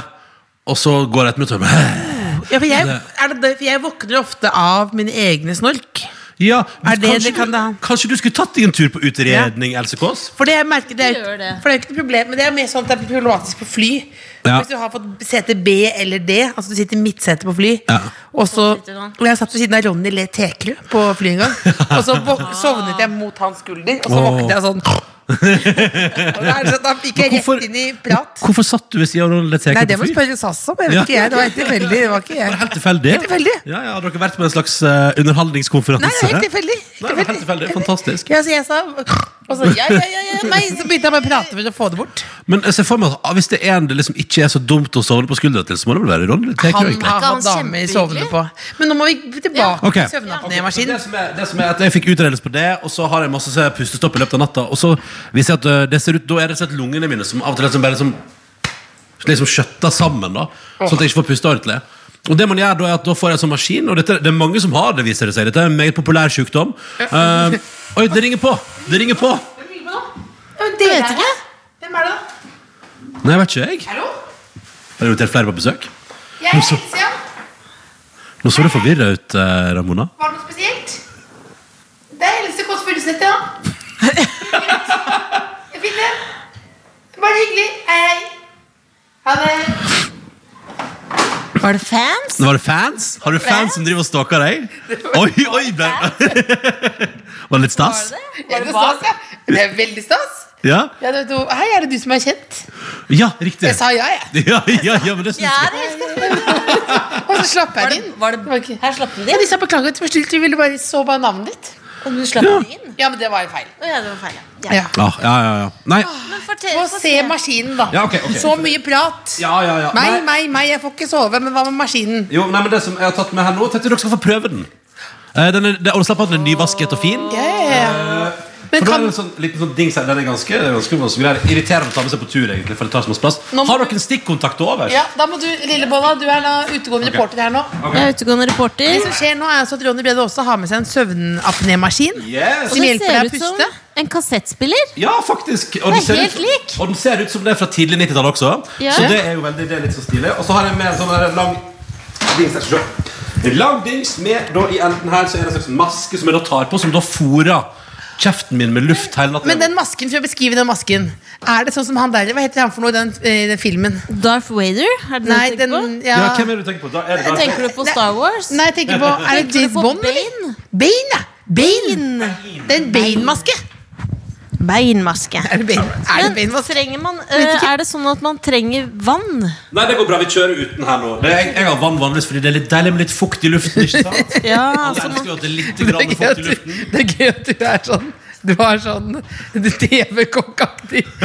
[SPEAKER 5] Og så går det et minutt og jeg-
[SPEAKER 3] Ja, for jeg, er det, det- for jeg våkner ofte av mine egne snork.
[SPEAKER 5] ja,
[SPEAKER 3] Er det
[SPEAKER 5] kanskje,
[SPEAKER 3] det kan
[SPEAKER 5] du-
[SPEAKER 3] da?
[SPEAKER 5] kanskje du skulle tatt deg en tur på utredning, Else Kåss?
[SPEAKER 3] For det jeg merker det er,
[SPEAKER 4] Gjør det.
[SPEAKER 3] For det er jo ikke noe problem Men det er mer sånn at det er problematisk på fly
[SPEAKER 5] Ja.
[SPEAKER 3] Hvis du har fått sete B eller D Altså du sitter i midtsete på fly
[SPEAKER 5] Ja.
[SPEAKER 3] Og så
[SPEAKER 4] sitter han.
[SPEAKER 3] og Jeg satt ved siden av Ronny Le Tekerud på fly en gang Og så våk- sovnet jeg mot hans skulder Og så
[SPEAKER 5] Åh.
[SPEAKER 3] våknet jeg sånn Og da er det sånn, da gikk jeg rett inn i prat
[SPEAKER 5] Hvorfor satt du ved siden av Leteka
[SPEAKER 3] Nei, det
[SPEAKER 5] på
[SPEAKER 3] må du
[SPEAKER 5] fly?
[SPEAKER 3] spørre SAS om Jeg vet
[SPEAKER 5] Ja.
[SPEAKER 3] ikke jeg, det var helt tilfeldig Det var ikke
[SPEAKER 5] Var det
[SPEAKER 3] jeg
[SPEAKER 5] helt tilfeldig?
[SPEAKER 3] Helt tilfeldig.
[SPEAKER 5] Ja, ja, har dere vært på en slags eh, underholdningskonferanse?
[SPEAKER 3] Nei, det var helt tilfeldig
[SPEAKER 5] Nei, det var helt tilfeldig, fantastisk
[SPEAKER 3] Ja, så jeg sa Og så, ja, ja, ja, ja, nei Så begynte jeg med å prate for å få det bort
[SPEAKER 5] Men jeg ser for meg at ah, hvis det er en det liksom ikke er så dumt å sovne på skuldra til Så må det vel være Ronny Leteka
[SPEAKER 3] Han
[SPEAKER 5] egentlig
[SPEAKER 3] har
[SPEAKER 4] han
[SPEAKER 3] hatt dame i
[SPEAKER 4] kjempehyggelig?
[SPEAKER 3] sovende på. Men nå må vi tilbake
[SPEAKER 5] Ok.
[SPEAKER 3] til
[SPEAKER 5] Så
[SPEAKER 3] søvnapnémaskinen.
[SPEAKER 5] Det som, er, det som er at Jeg fikk utredelse på det, og så har jeg masse så jeg pustestopp i løpet av natta. Og så viser jeg at øh, det ser ut, Da er det sett lungene mine som av og til liksom bare liksom, liksom skjøtter sammen. da Sånn at jeg ikke får puste ordentlig. Og det man gjør da er at da får jeg en sånn maskin, og dette, det er mange som har det, viser det seg. Dette er en meget populær sykdom. Eh, oi, det ringer på! Det ringer på!
[SPEAKER 3] Jeg vet ikke. Hvem er det, da?
[SPEAKER 5] Nei, jeg vet ikke, jeg.
[SPEAKER 3] Hallo?
[SPEAKER 5] Har det invitert flere på besøk? Nå så, nå så du forvirra ut, eh, Ramona.
[SPEAKER 7] Var det noe spesielt? Det er Else Kåss Furuseth, ja. Det er Fint, det. Bare hyggelig. Hei, hei. Ha det.
[SPEAKER 4] Var det fans?
[SPEAKER 5] Var det fans? Har du fans som driver og stalker deg? Oi, oi! Ble... Var det litt stas?
[SPEAKER 7] Er det stas, ja? Det er veldig stas.
[SPEAKER 5] Ja,
[SPEAKER 7] Ja, det vet du. Hei, er det du som er kjent?
[SPEAKER 5] ja riktig.
[SPEAKER 7] Jeg sa ja, jeg.
[SPEAKER 5] Ja, ja, ja, men det synes
[SPEAKER 4] Ja,
[SPEAKER 5] jeg.
[SPEAKER 4] det
[SPEAKER 7] Og så slapp jeg det inn.
[SPEAKER 4] Var det,
[SPEAKER 7] Det var ikke-
[SPEAKER 4] her slapp du det
[SPEAKER 7] Ja,
[SPEAKER 4] inn?
[SPEAKER 7] de sa beklager, til slutt, vi ville bare så bare navnet ditt.
[SPEAKER 4] Og du slapp det inn?
[SPEAKER 7] Ja, men det var en feil.
[SPEAKER 4] Å ja, det var feil. ja.
[SPEAKER 7] Ja.
[SPEAKER 4] Ja.
[SPEAKER 5] Ja, ja, ja, ja. Nei.
[SPEAKER 4] Men fortell,
[SPEAKER 7] Få se maskinen, da.
[SPEAKER 5] Ja, ok, ok.
[SPEAKER 7] Så mye prat.
[SPEAKER 5] Ja, ja, ja.
[SPEAKER 7] Meg, meg, meg, jeg får ikke sove, men hva med maskinen?
[SPEAKER 5] Jo, nei, men det som jeg har tatt med her nå Tenkte dere skal få prøve den Eh, den er, det, og slapp av, den er nyvasket og fin
[SPEAKER 7] Ja, ja, ja. Men
[SPEAKER 5] For da er
[SPEAKER 7] kan,
[SPEAKER 5] det en sånn, liten sånn dings her Den er ganske, det er ganske vanskelig. Det er irriterende å ta med seg på tur egentlig For det tar så mye plass
[SPEAKER 7] Nå må
[SPEAKER 5] Har
[SPEAKER 7] du-
[SPEAKER 5] dere en stikkontakt over?
[SPEAKER 7] ja, da må du, Lillebolla, du er da utegående
[SPEAKER 5] Ok.
[SPEAKER 7] reporter her nå.
[SPEAKER 4] Jeg er utegående
[SPEAKER 7] Det
[SPEAKER 4] reporter.
[SPEAKER 7] som skjer nå, er altså at Ronny Brede også har med seg en søvnapnémaskin.
[SPEAKER 5] Yes!
[SPEAKER 7] Som
[SPEAKER 4] Det
[SPEAKER 7] hjelper
[SPEAKER 4] ser
[SPEAKER 7] deg å
[SPEAKER 4] ut som
[SPEAKER 7] puste.
[SPEAKER 4] en kassettspiller.
[SPEAKER 5] Ja, faktisk og
[SPEAKER 4] Det er helt
[SPEAKER 5] ut,
[SPEAKER 4] lik.
[SPEAKER 5] Og den ser ut som det er fra tidlig 90-tall også
[SPEAKER 4] Ja.
[SPEAKER 5] Så det er jo veldig, det er litt så stilig Og så har jeg med en sånn der lang dings her, skal du se. En lang dings med da, I enden her så er det en slags maske som jeg da tar på Som da fôrer kjeften min med luft hele natten
[SPEAKER 7] Men den masken, for å beskrive den masken, er det sånn som han der Hva heter han for noe i den, eh, i den filmen?
[SPEAKER 4] Darth Vader. Er det det
[SPEAKER 7] Nei,
[SPEAKER 4] du
[SPEAKER 7] den
[SPEAKER 4] tenker
[SPEAKER 5] ja,
[SPEAKER 7] ja.
[SPEAKER 5] hvem er det du tenker på? Da er det
[SPEAKER 4] på?
[SPEAKER 5] da-
[SPEAKER 4] Tenker du på Star Wars?
[SPEAKER 7] Nei, jeg tenker på Er det
[SPEAKER 4] Tenker du
[SPEAKER 7] James
[SPEAKER 4] på
[SPEAKER 7] Bond, eller?
[SPEAKER 4] Bane?
[SPEAKER 7] Bane, ja! Bane! Det er en Bane-maske.
[SPEAKER 4] Beinmaske.
[SPEAKER 7] Er det Bane? Er det
[SPEAKER 4] Men
[SPEAKER 7] Bane-maske?
[SPEAKER 4] trenger man, eh, er det sånn at man trenger vann?
[SPEAKER 5] Nei, det går bra, vi kjører uten her nå det, jeg, jeg har vann vanligvis fordi det er litt deilig med litt fukt i luften Ikke sant?
[SPEAKER 4] Ja,
[SPEAKER 5] Altså, jeg elsker jo at det er litt
[SPEAKER 7] Det er
[SPEAKER 5] grann
[SPEAKER 7] gøy at
[SPEAKER 5] fukt i
[SPEAKER 7] du-
[SPEAKER 5] luften
[SPEAKER 7] det er gøy at du er sånn Du er sånn TV-kokkaktig.
[SPEAKER 5] Så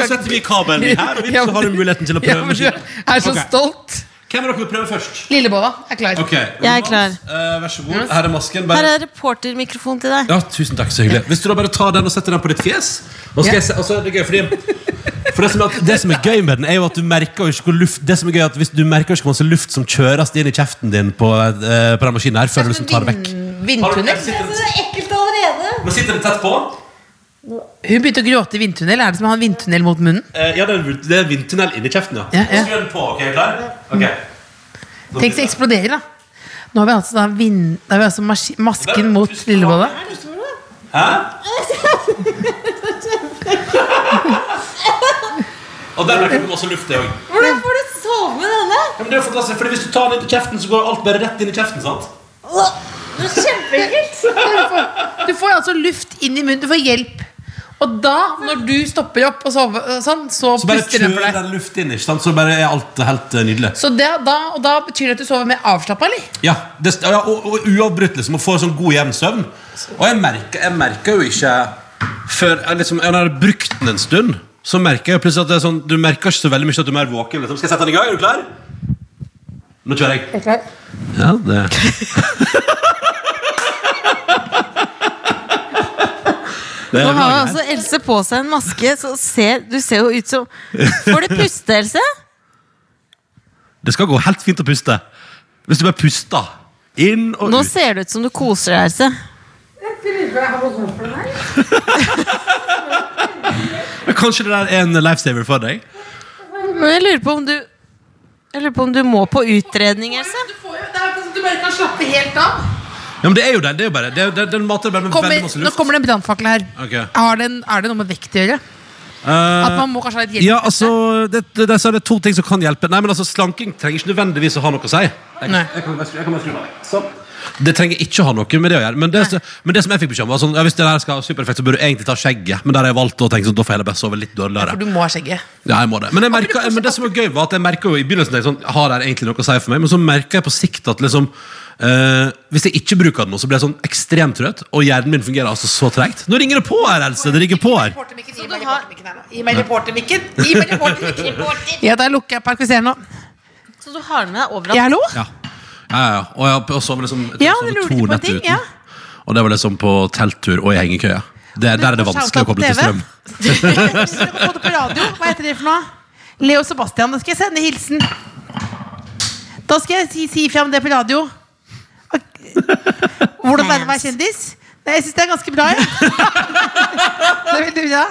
[SPEAKER 5] setter vi kabelen i her Og vi,
[SPEAKER 7] Ja, men
[SPEAKER 5] så har du
[SPEAKER 7] du-
[SPEAKER 5] muligheten til å
[SPEAKER 7] Ja,
[SPEAKER 5] prøve
[SPEAKER 7] men du
[SPEAKER 5] maskinen
[SPEAKER 7] er så
[SPEAKER 5] Ok.
[SPEAKER 7] stolt.
[SPEAKER 5] Hvem er dere vil prøve først?
[SPEAKER 7] Lillebolla er klar.
[SPEAKER 5] Ok,
[SPEAKER 4] Jeg er klar.
[SPEAKER 5] Eh, Vær så god, her er masken bare-
[SPEAKER 4] Her er reportermikrofon til deg.
[SPEAKER 5] Ja, tusen takk, så hyggelig Hvis du da bare tar den og setter den på ditt fjes Nå skal jeg se, og så er det gøy fordi for det som, er, det som er gøy med den, er jo at du merker jo ikke hvor luft Det som er gøy er at hvis du merker jo ikke hvor masse luft som kjøres inn i kjeften din på, eh, på den maskinen her, før du liksom tar det vekk.
[SPEAKER 7] Vindtunnel?
[SPEAKER 5] er ekkelt allerede. Men sitter den tett på?
[SPEAKER 7] Hun begynte å gråte i vindtunnel. Er det som å ha en vindtunnel mot munnen?
[SPEAKER 5] Eh, ja, det er en- det er en vindtunnel inni kjeften, ja.
[SPEAKER 7] Ja, ja.
[SPEAKER 5] Så skrur den på, ok, er du klar? Ok. Nå
[SPEAKER 7] Tenk så
[SPEAKER 5] begynner jeg.
[SPEAKER 7] eksploderer, da. Nå har vi altså, da vind, da har vi altså mas- masken mot lillebolla.
[SPEAKER 5] Hæ? Og der merker du masse luft, det òg.
[SPEAKER 9] Hvordan får du sove med denne?
[SPEAKER 5] Ja, men det er jo fantastisk, fordi Hvis du tar den inn til kjeften, så går alt bare rett inn i kjeften. sant?
[SPEAKER 7] Du får altså luft inn i munnen. Du får hjelp. Og da, når du stopper opp og sover, og sånn, så,
[SPEAKER 5] Så bare
[SPEAKER 7] puster den for
[SPEAKER 5] kjører
[SPEAKER 7] deg.
[SPEAKER 5] den luft inn, ikke sant? så bare er alt helt eh, nydelig.
[SPEAKER 7] Så det, da, og da betyr det at du sover mer avslappa, eller?
[SPEAKER 5] Ja, det, ja og, og uavbrutt, liksom. Og får sånn god jevn søvn. Og jeg merker, jeg merker jo ikke Før jeg liksom, jeg har brukt den en stund, så merker jeg plutselig at det er sånn, du merker ikke så veldig mye at du er mer våken. Liksom. Skal jeg sette den i gang? Er du klar? Nå kjører jeg. Ja, det Det
[SPEAKER 4] Nå
[SPEAKER 5] er
[SPEAKER 4] har jo
[SPEAKER 5] bra,
[SPEAKER 4] altså Else på seg en maske, så ser, du ser jo ut som Får du puste, Else? altså-
[SPEAKER 5] Det skal gå helt fint å puste. Hvis du bare puster inn og
[SPEAKER 4] Nå
[SPEAKER 5] ut.
[SPEAKER 4] ser det ut som du koser deg, Else.
[SPEAKER 5] Men Kanskje det der er en lifesaver for deg?
[SPEAKER 4] Men jeg lurer på om du Jeg lurer på om du må på utredning, Else.
[SPEAKER 7] Du bare kan slappe helt av.
[SPEAKER 5] Ja, men det er jo den. Det er jo bare, det er, det- den mater bare med
[SPEAKER 7] Kommer,
[SPEAKER 5] veldig masse
[SPEAKER 7] nå
[SPEAKER 5] luft.
[SPEAKER 7] kommer det en brannfakkel her.
[SPEAKER 5] Ok.
[SPEAKER 7] Har det en, er det noe med vekt å gjøre?
[SPEAKER 5] Eh,
[SPEAKER 7] At man må kanskje ha litt hjelp?
[SPEAKER 5] ja, altså, det, det, det, så er det to ting som kan hjelpe. Nei, men altså, Slanking trenger ikke nødvendigvis å ha noe å si. Jeg, kan-
[SPEAKER 7] Nei.
[SPEAKER 5] jeg, kan, bare skru- jeg kan bare skru meg vekk. Sånn. Det trenger ikke å ha noe med det å gjøre. Men det, men det som jeg fikk beskjed om, var sånn, ja, hvis det her skal være supereffekt, så burde du egentlig ta skjegget. Men der har jeg valgt å tenke sånn, da får jeg heller bare sove litt dårligere.
[SPEAKER 7] For du må ha skjegget.
[SPEAKER 5] Ja, jeg må det. Men, jeg merker, men det som var gøy, var at jeg merket jo i begynnelsen tenkte jeg sånn, Har det egentlig noe å si for meg? Men så merka jeg på sikt at liksom eh, Hvis jeg ikke bruker den nå, så blir jeg sånn ekstremt trøtt, og hjernen min fungerer altså så tregt. Nå ringer det på her, Else! Det ringer på her.
[SPEAKER 7] Reportermikken, Gi meg reportermikken her nå. Gi meg reportermikken! Gi meg reportermikken! Reporter. Ja, da lukker jeg parkviseren nå.
[SPEAKER 4] Så du har den med deg overalt.
[SPEAKER 7] Ja, hallo?
[SPEAKER 5] Ja, ja, ja. Og, jeg, og så var det liksom jeg tror
[SPEAKER 7] Ja,
[SPEAKER 5] jeg sov
[SPEAKER 7] det
[SPEAKER 5] to
[SPEAKER 7] lurte på en
[SPEAKER 5] netter
[SPEAKER 7] ting,
[SPEAKER 5] uten.
[SPEAKER 7] ja.
[SPEAKER 5] Og det var liksom på telttur og i hengekøya. Det, der er det
[SPEAKER 7] får
[SPEAKER 5] vanskelig å
[SPEAKER 7] shout-out
[SPEAKER 5] koble til
[SPEAKER 7] på
[SPEAKER 5] strøm.
[SPEAKER 7] Hvis dere kan få det på radio, hva heter det for noe? Leo Sebastian, da skal jeg sende hilsen. Da skal jeg si, si fram det på radio. Ok. Hvordan er det å være kjendis? Nei, jeg syns det er ganske bra, jeg. Det er veldig bra.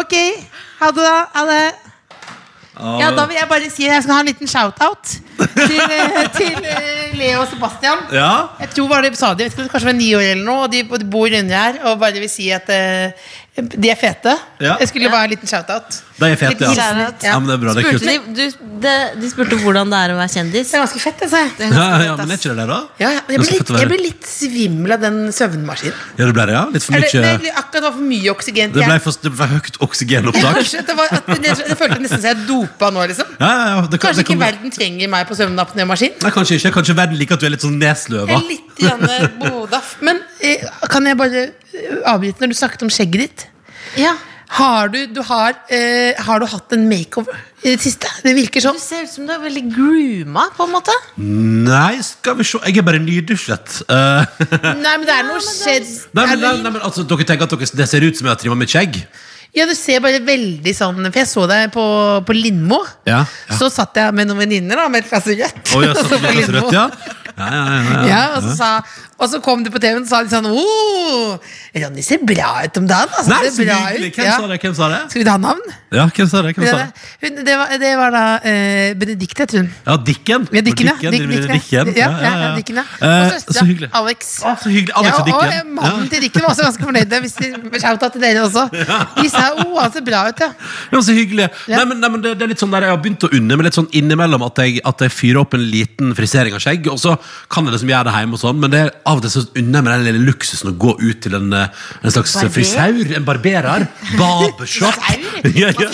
[SPEAKER 7] Ok, ha det, da. Ha det. Ja, da vil jeg bare si at jeg skal ha en liten shout-out til, eh, til eh, Leo og Sebastian.
[SPEAKER 5] Ja,
[SPEAKER 7] Jeg tror bare de sa det, jeg vet ikke, kanskje det var ni år eller noe, og de, og de bor inni her og bare vil si at eh, De er fete.
[SPEAKER 5] Ja.
[SPEAKER 7] Jeg skulle bare ha en liten shout-out.
[SPEAKER 5] De er fete, ja.
[SPEAKER 4] Kjære.
[SPEAKER 5] ja. Men det er bra, det er kult.
[SPEAKER 4] Spurte de, du, det, de spurte hvordan det er å være kjendis.
[SPEAKER 7] Det er ganske fett, altså.
[SPEAKER 5] Ja, ja, men er ikke det det, da?
[SPEAKER 7] Ja, ja, jeg blir
[SPEAKER 5] Ganske fett
[SPEAKER 7] litt,
[SPEAKER 5] å være.
[SPEAKER 7] jeg blir litt svimmel av den søvnmaskinen.
[SPEAKER 5] Ja, det ble det, ja? Litt for
[SPEAKER 7] Eller,
[SPEAKER 5] mye
[SPEAKER 7] det, er akkurat det var for mye oksygen. til
[SPEAKER 5] Det ble
[SPEAKER 7] hjernen.
[SPEAKER 5] for, det ble høyt oksygenopptak.
[SPEAKER 7] Kanskje det var, at det, jeg følte nesten som jeg dopa nå, liksom.
[SPEAKER 5] Ja, ja, ja. Det, kan-
[SPEAKER 7] Kanskje
[SPEAKER 5] det kan-
[SPEAKER 7] ikke verden trenger meg på søvnapnémaskin.
[SPEAKER 5] Nei, kanskje ikke. Kanskje verden liker at du er litt sånn nesløva.
[SPEAKER 7] Jeg er Litt grann bodaff. Men eh, kan jeg bare eh, avbryte når du snakket om skjegget ditt?
[SPEAKER 4] Ja,
[SPEAKER 7] Har du, du har, eh, har du hatt en makeover i det siste? Det virker
[SPEAKER 4] Du
[SPEAKER 7] sånn.
[SPEAKER 4] ser ut som du er veldig grooma, på en måte.
[SPEAKER 5] Nei, skal vi se. Jeg er bare nydusjet. Eh,
[SPEAKER 7] Nei, men det er noe skjedd.
[SPEAKER 5] nei,
[SPEAKER 7] er
[SPEAKER 5] men, nei,
[SPEAKER 7] det-
[SPEAKER 5] nei, men altså, dere tenker at dere, det ser ut som jeg har trimmet med skjegg?
[SPEAKER 7] Ja, du ser bare veldig sånn For jeg så deg på, på Lindmo.
[SPEAKER 5] Ja, ja.
[SPEAKER 7] Så satt jeg med noen venninner da, med et glass rødt.
[SPEAKER 5] Å, jeg
[SPEAKER 7] Og
[SPEAKER 5] satt
[SPEAKER 7] så
[SPEAKER 5] med
[SPEAKER 7] på
[SPEAKER 5] glass
[SPEAKER 7] Lindmo.
[SPEAKER 5] rødt, ja. Ja, ja, ja, ja.
[SPEAKER 7] Ja, altså, og, så sa, og så kom du på TV-en og sa de sånn oh, Ronny ser bra ut om dagen. Altså,
[SPEAKER 5] Nei,
[SPEAKER 7] ser
[SPEAKER 5] så
[SPEAKER 7] bra
[SPEAKER 5] hyggelig.
[SPEAKER 7] ut.
[SPEAKER 5] Hvem
[SPEAKER 7] Ja.
[SPEAKER 5] sa det? Hvem sa det?
[SPEAKER 7] Skal vi ta navn?
[SPEAKER 5] Ja, hvem sa det? Hvem
[SPEAKER 7] Det,
[SPEAKER 5] sa det?
[SPEAKER 7] hun, det, var, det var da eh, Benedicte, heter hun.
[SPEAKER 5] Ja, Dicken.
[SPEAKER 7] Ja, Dikken, ja. Dik-
[SPEAKER 5] Dicken, din-
[SPEAKER 7] Dikken, ja.
[SPEAKER 5] Dikken.
[SPEAKER 7] Ja, ja, ja, Dikken, ja.
[SPEAKER 5] Eh,
[SPEAKER 7] Og
[SPEAKER 5] så hyggelig.
[SPEAKER 7] søstera Alex.
[SPEAKER 5] Å, så hyggelig. Alex
[SPEAKER 7] Ja,
[SPEAKER 5] og Dikken.
[SPEAKER 7] og eh, mannen til Dikken var også ganske fornøyd. Hvis de, shout out til dere også. De sa oh, han ser bra ut, ja.
[SPEAKER 5] Det var så hyggelig.
[SPEAKER 7] Ja.
[SPEAKER 5] Nei, men, nei, men det, det er litt sånn der Jeg har begynt å unne meg litt sånn innimellom at jeg, at jeg fyrer opp en liten frisering av skjegg, og så kan jeg liksom gjøre det hjemme og sånn, men det er av og til så unner jeg meg den lille luksusen å gå ut til en, eh, en slags frisaur, en barberer, barbershop. ja, ja.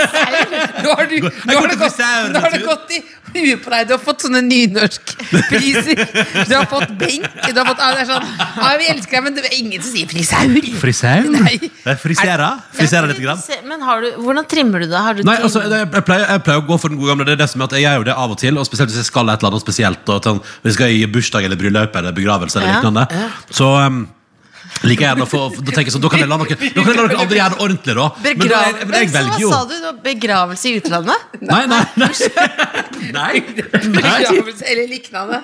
[SPEAKER 7] Nå har du, nå
[SPEAKER 5] går
[SPEAKER 7] har det gått,
[SPEAKER 5] til frisøren,
[SPEAKER 7] nå har det
[SPEAKER 5] vet du.
[SPEAKER 7] gått i huet på deg. Du har fått sånne nynorskpriser. Du har fått benk. Du har fått, ah, det er sånn, ah, vi elsker deg, men det er ingen som sier frisaur.
[SPEAKER 5] Frisaur?
[SPEAKER 7] Nei.
[SPEAKER 5] Jeg friserer. Friserer litt. Grann.
[SPEAKER 4] Se- Men har du, hvordan trimmer du det? Har du
[SPEAKER 5] Nei,
[SPEAKER 4] trim-
[SPEAKER 5] altså, jeg, jeg, pleier, jeg pleier å gå for den gode gamle. Det er det som er at Jeg gjør jo det av og til, og spesielt hvis jeg skal et eller annet spesielt. Og, sånn, hvis jeg skal i bursdag eller bryllup eller begravelse eller
[SPEAKER 4] Ja,
[SPEAKER 5] lignende. Så um, liker jeg gjerne å få Da tenker jeg sånn, da kan jeg la noen, da kan jeg la noen andre gjøre det ordentlig, da. Men, da, jeg, men jeg
[SPEAKER 4] så
[SPEAKER 5] velger
[SPEAKER 4] Hva
[SPEAKER 5] jo
[SPEAKER 4] sa du? Det var Begravelse i utlandet?
[SPEAKER 5] Nei, nei, nei. Nei, nei,
[SPEAKER 7] Eller lignende.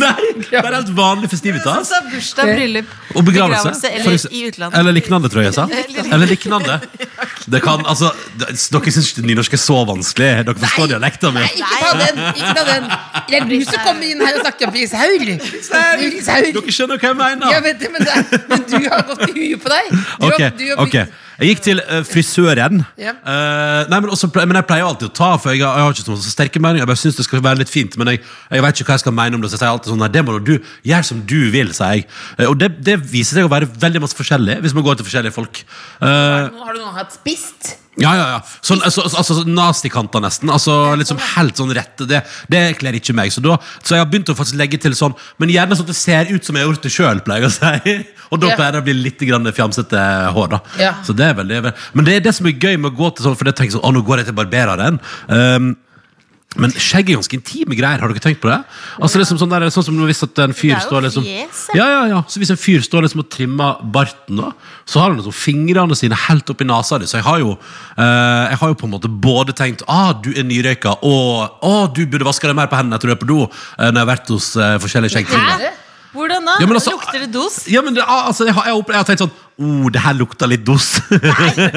[SPEAKER 5] nei. Det er helt vanlig festivitas.
[SPEAKER 4] Altså, bursdag, bryllup,
[SPEAKER 5] Og begravelse. for
[SPEAKER 4] eller
[SPEAKER 5] eksempel.
[SPEAKER 4] i utlandet.
[SPEAKER 5] Eller lignende, tror jeg jeg sa. Eller lignende. Det kan, altså, d- dere syns ikke nynorsk er så vanskelig. Dere forstår dialekta mi.
[SPEAKER 7] Ikke ta den! ikke ta den Det er du som kommer inn her og snakker om frisaur. Frisaur.
[SPEAKER 5] Dere skjønner hva jeg mener.
[SPEAKER 7] Ja, vet du, men, det, er- men du har gått i huet på deg. Du
[SPEAKER 5] Ok,
[SPEAKER 7] har, du har,
[SPEAKER 5] ok Jeg gikk til eh, frisøren
[SPEAKER 7] Ja.
[SPEAKER 5] Eh, Nei, men, også, ple- men jeg pleier alltid å ta For jeg, har- jeg har ikke så sterke meninger Jeg bare synes det skal være litt fint Men jeg, jeg vet ikke hva jeg skal mene om det Så jeg sier alltid sånn Nei, det må du gjøre som du vil, sier jeg Eh, Og det, det viser seg å være veldig masse forskjellig Hvis man går til forskjellige folk Eh,
[SPEAKER 7] Nå har du noen hatt spist?
[SPEAKER 5] Ja, ja, ja Sånn, altså, altså, altså nazikanter nesten Altså liksom helt sånn rett Det, det kler ikke meg Så, da, så jeg har begynt å faktisk legge til sånn Men gjerne sånn at det ser ut som jeg har gjort det selv Pleier jeg å si Og da
[SPEAKER 7] Ja.
[SPEAKER 5] pleier det å bli litt grann fjamsete hår da
[SPEAKER 7] Ja.
[SPEAKER 5] Så det er veldig Men det er det som er gøy med å gå til sånn For det tenker jeg sånn, å nå går jeg til barbereren Ehm, men skjegg er ganske intime greier, har dere tenkt på det? Altså liksom sånn, der, sånn som hvis at en fyr
[SPEAKER 4] Det er jo
[SPEAKER 5] står liksom
[SPEAKER 4] fjeset.
[SPEAKER 5] ja, ja, ja. Så hvis en fyr står liksom og trimmer barten, da, så har han liksom fingrene sine helt oppi nesa di. Så jeg har jo eh, Jeg har jo på en måte både tenkt ah, du er nyrøyka, og ah, du burde vaske deg mer på hendene etter du er på do. eh, når jeg har vært hos eh, forskjellige skjeggtrimmer.
[SPEAKER 4] Hæ? Hvordan da?
[SPEAKER 5] Ja, men altså-
[SPEAKER 4] Lukter det dos?
[SPEAKER 5] Ja, men det, ah, altså, jeg, har, jeg, har opple- jeg har tenkt sånn oh, det her lukter litt dos.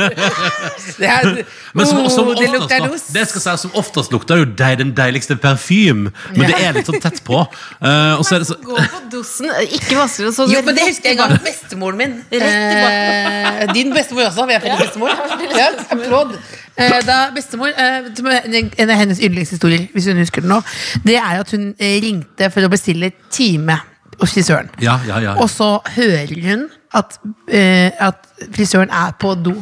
[SPEAKER 7] Det, er,
[SPEAKER 5] Men som,
[SPEAKER 7] Oh,
[SPEAKER 5] som
[SPEAKER 7] det
[SPEAKER 5] oftest,
[SPEAKER 7] lukter
[SPEAKER 5] da,
[SPEAKER 7] dos.
[SPEAKER 5] det skal sies, som oftest lukter jo deg den deiligste parfym, men det er litt sånn tett på. Eh, og så er det så,
[SPEAKER 4] Gå på dosen, ikke vasker og så
[SPEAKER 7] Jo, men det husker jeg
[SPEAKER 4] rett i
[SPEAKER 7] ga
[SPEAKER 4] gang.
[SPEAKER 7] bestemoren min.
[SPEAKER 4] Rett i
[SPEAKER 7] Eh, din bestemor også. Vi er felles bestemor. Ja, applaud. Eh, da bestemor eh, som er en en av hennes yndlingshistorier, hvis hun husker den nå, det er at hun eh, ringte for å bestille time hos frisøren.
[SPEAKER 5] ja, ja, ja.
[SPEAKER 7] Og så hører hun at, eh, at frisøren er på do.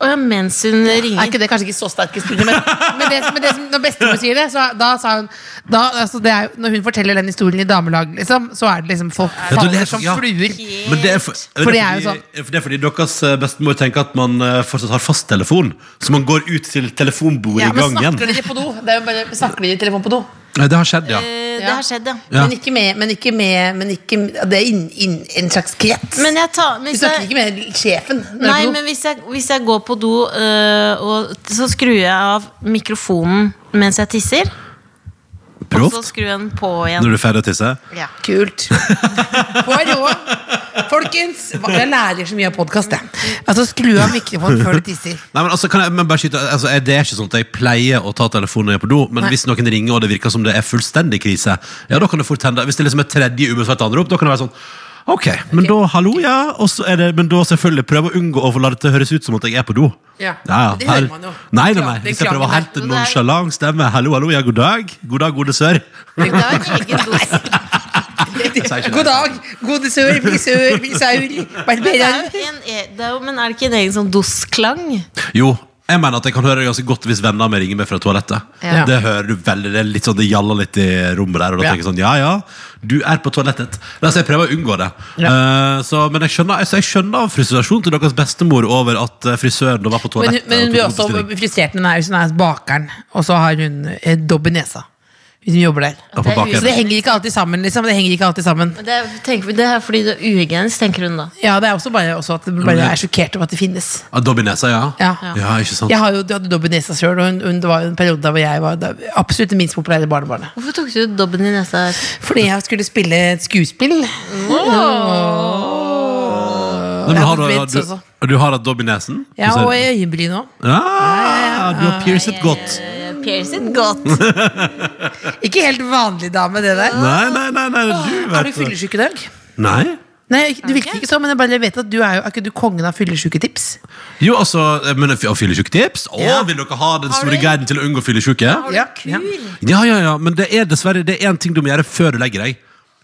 [SPEAKER 4] Å ja, mens hun
[SPEAKER 7] Er
[SPEAKER 4] ringer.
[SPEAKER 7] ikke det kanskje ikke så sterke historier, men, men, det, som- men det som, når bestemor sier det, så da sa hun da, altså det er, jo- Når hun forteller den historien i damelaget, liksom, så er det liksom folk
[SPEAKER 5] Ja, du
[SPEAKER 7] faller
[SPEAKER 5] leser-
[SPEAKER 7] som
[SPEAKER 5] ja.
[SPEAKER 7] fluer.
[SPEAKER 5] Men det er, for,
[SPEAKER 7] For
[SPEAKER 5] det
[SPEAKER 7] det
[SPEAKER 5] er
[SPEAKER 7] er jo sånn-
[SPEAKER 5] fordi, for det er fordi deres eh, bestemor tenker at man eh, fortsatt har fasttelefon. Så man går ut til telefonbordet
[SPEAKER 7] Ja,
[SPEAKER 5] i
[SPEAKER 7] men snakker
[SPEAKER 5] gangen.
[SPEAKER 7] dere på do? Det er jo bare, snakker dere i telefon på do?
[SPEAKER 5] Eh, Det har skjedd, ja.
[SPEAKER 4] Eh, Det
[SPEAKER 7] Ja.
[SPEAKER 4] har skjedd, ja.
[SPEAKER 5] Ja.
[SPEAKER 7] Men ikke med, men ikke med, men ikke, Det er inn, inn, en slags krets.
[SPEAKER 4] Men jeg tar
[SPEAKER 7] du
[SPEAKER 4] hvis
[SPEAKER 7] snakker
[SPEAKER 4] jeg,
[SPEAKER 7] ikke med sjefen? når du
[SPEAKER 4] Nei,
[SPEAKER 7] er på do.
[SPEAKER 4] men hvis jeg, hvis jeg går på do, eh, og så skrur jeg av mikrofonen mens jeg tisser, og så
[SPEAKER 5] Proft.
[SPEAKER 4] skrur jeg den på igjen.
[SPEAKER 5] Når du er ferdig å tisse.
[SPEAKER 7] Kult. Få råd. Folkens, jeg lærer så mye av podkast, jeg. Altså, skru av mikrofonen før du tisser.
[SPEAKER 5] Nei, men altså, kan jeg, men bare skyte, altså, er det er ikke sånn at jeg pleier å ta telefonen når jeg er på do, men
[SPEAKER 7] Nei.
[SPEAKER 5] hvis noen ringer og det virker som det er fullstendig krise, ja, da kan det fort hende. Hvis det liksom er tredje ubesvart anrop, da kan det være sånn Ok, men da hallo, ja. Og så er det, men da selvfølgelig prøve å unngå å få la det til å høres ut som at jeg er på do.
[SPEAKER 7] Ja, det
[SPEAKER 5] her-
[SPEAKER 7] hører man jo.
[SPEAKER 5] Nei, nei, nei.
[SPEAKER 7] Klart, det
[SPEAKER 5] Hvis jeg
[SPEAKER 7] klager
[SPEAKER 5] prøver å
[SPEAKER 7] man.
[SPEAKER 5] hente en nonsjalant stemme. Hallo, hallo, ja, god dag. God dag, gode sør.
[SPEAKER 7] Det er egen dos.
[SPEAKER 5] Jeg sier ikke
[SPEAKER 7] God
[SPEAKER 5] det.
[SPEAKER 7] dag, gode sør, frisør, frisaur,
[SPEAKER 4] Det er
[SPEAKER 7] barberer.
[SPEAKER 4] jo en, e- det er jo, men er det ikke en egen sånn dosklang?
[SPEAKER 5] Jo, jeg mener at jeg kan høre det ganske godt hvis venner av meg ringer meg fra toalettet.
[SPEAKER 7] Ja.
[SPEAKER 5] Det hører du veldig, det er litt sånn, det gjaller litt i rommet der, og da
[SPEAKER 7] Ja.
[SPEAKER 5] tenker jeg sånn, ja, ja, du er på toalettet. Nei, så jeg prøver å unngå det. Eh, så, men jeg skjønner, altså, jeg skjønner av frustrasjon til deres bestemor over at eh, frisøren var på
[SPEAKER 7] Men,
[SPEAKER 5] toalettet.
[SPEAKER 7] hun- men hun
[SPEAKER 5] og
[SPEAKER 7] blir
[SPEAKER 5] tok
[SPEAKER 7] også
[SPEAKER 5] en bestilling.
[SPEAKER 7] frustrert når hun er, hvis hun er bakeren, og så har hun eh, dobb i nesa. Hvis hun jobber der.
[SPEAKER 5] Ja, på
[SPEAKER 7] Så det
[SPEAKER 5] bakeren.
[SPEAKER 7] henger ikke alltid sammen. liksom Det henger ikke alltid sammen
[SPEAKER 4] Det er, tenker vi, det er fordi det er uhygienisk, tenker hun da.
[SPEAKER 7] Ja, Det er også bare også at hun bare er sjokkert over at det finnes.
[SPEAKER 5] Ah, Dobby Nesa, ja.
[SPEAKER 7] Ja.
[SPEAKER 5] Ja, ikke sant?
[SPEAKER 7] Jeg har jo, du hadde dobb i nesa sjøl, og hun, hun, det var jo en periode der hvor jeg var det absolutt det minst populære barnebarnet.
[SPEAKER 4] Hvorfor tok du dobben i nesa? her?
[SPEAKER 7] Fordi jeg skulle spille et skuespill.
[SPEAKER 5] Nei,
[SPEAKER 7] jeg
[SPEAKER 5] men
[SPEAKER 7] har
[SPEAKER 5] har du,
[SPEAKER 7] hatt
[SPEAKER 5] du,
[SPEAKER 7] brits også.
[SPEAKER 5] du har hatt Dobby Nesen?
[SPEAKER 7] altså. Ja,
[SPEAKER 5] Du ser-
[SPEAKER 7] og i øyenbrynet òg.
[SPEAKER 5] Ah, du har pierced godt.
[SPEAKER 4] Pierced Eh, godt.
[SPEAKER 7] Ikke helt vanlig dame, det der.
[SPEAKER 5] Nei, nei, nei, nei, du
[SPEAKER 7] Er du
[SPEAKER 5] vet det.
[SPEAKER 7] fyllesyk i dag?
[SPEAKER 5] Nei?
[SPEAKER 7] Nei, ikke- du virker ikke sånn, men jeg bare vet at du er jo Er ikke du kongen av fyllesyketips?
[SPEAKER 5] Jo, altså, men og fyllesjuketips? Å,
[SPEAKER 7] Ja.
[SPEAKER 5] vil dere ha den store guiden til å unngå fyllesjuke?
[SPEAKER 7] Ja. ja.
[SPEAKER 5] Ja, ja, ja, men det er dessverre Det er en ting du må gjøre før du legger deg.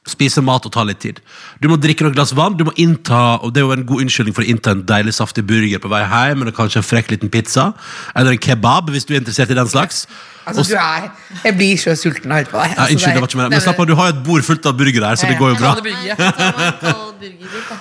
[SPEAKER 5] Spise mat og ta litt tid. Du må drikke noen glass vann. Du må innta, og Det er jo en god unnskyldning for å innta en deilig, saftig burger på vei hjem, eller kanskje en frekk liten pizza. Eller en kebab, hvis du er interessert i den slags.
[SPEAKER 7] Altså, du er Jeg blir så sulten av å høre på deg.
[SPEAKER 5] Ja, unnskyld, det var ikke mer. Men slapp av, du har jo et bord fullt av burgere her, så det går jo bra.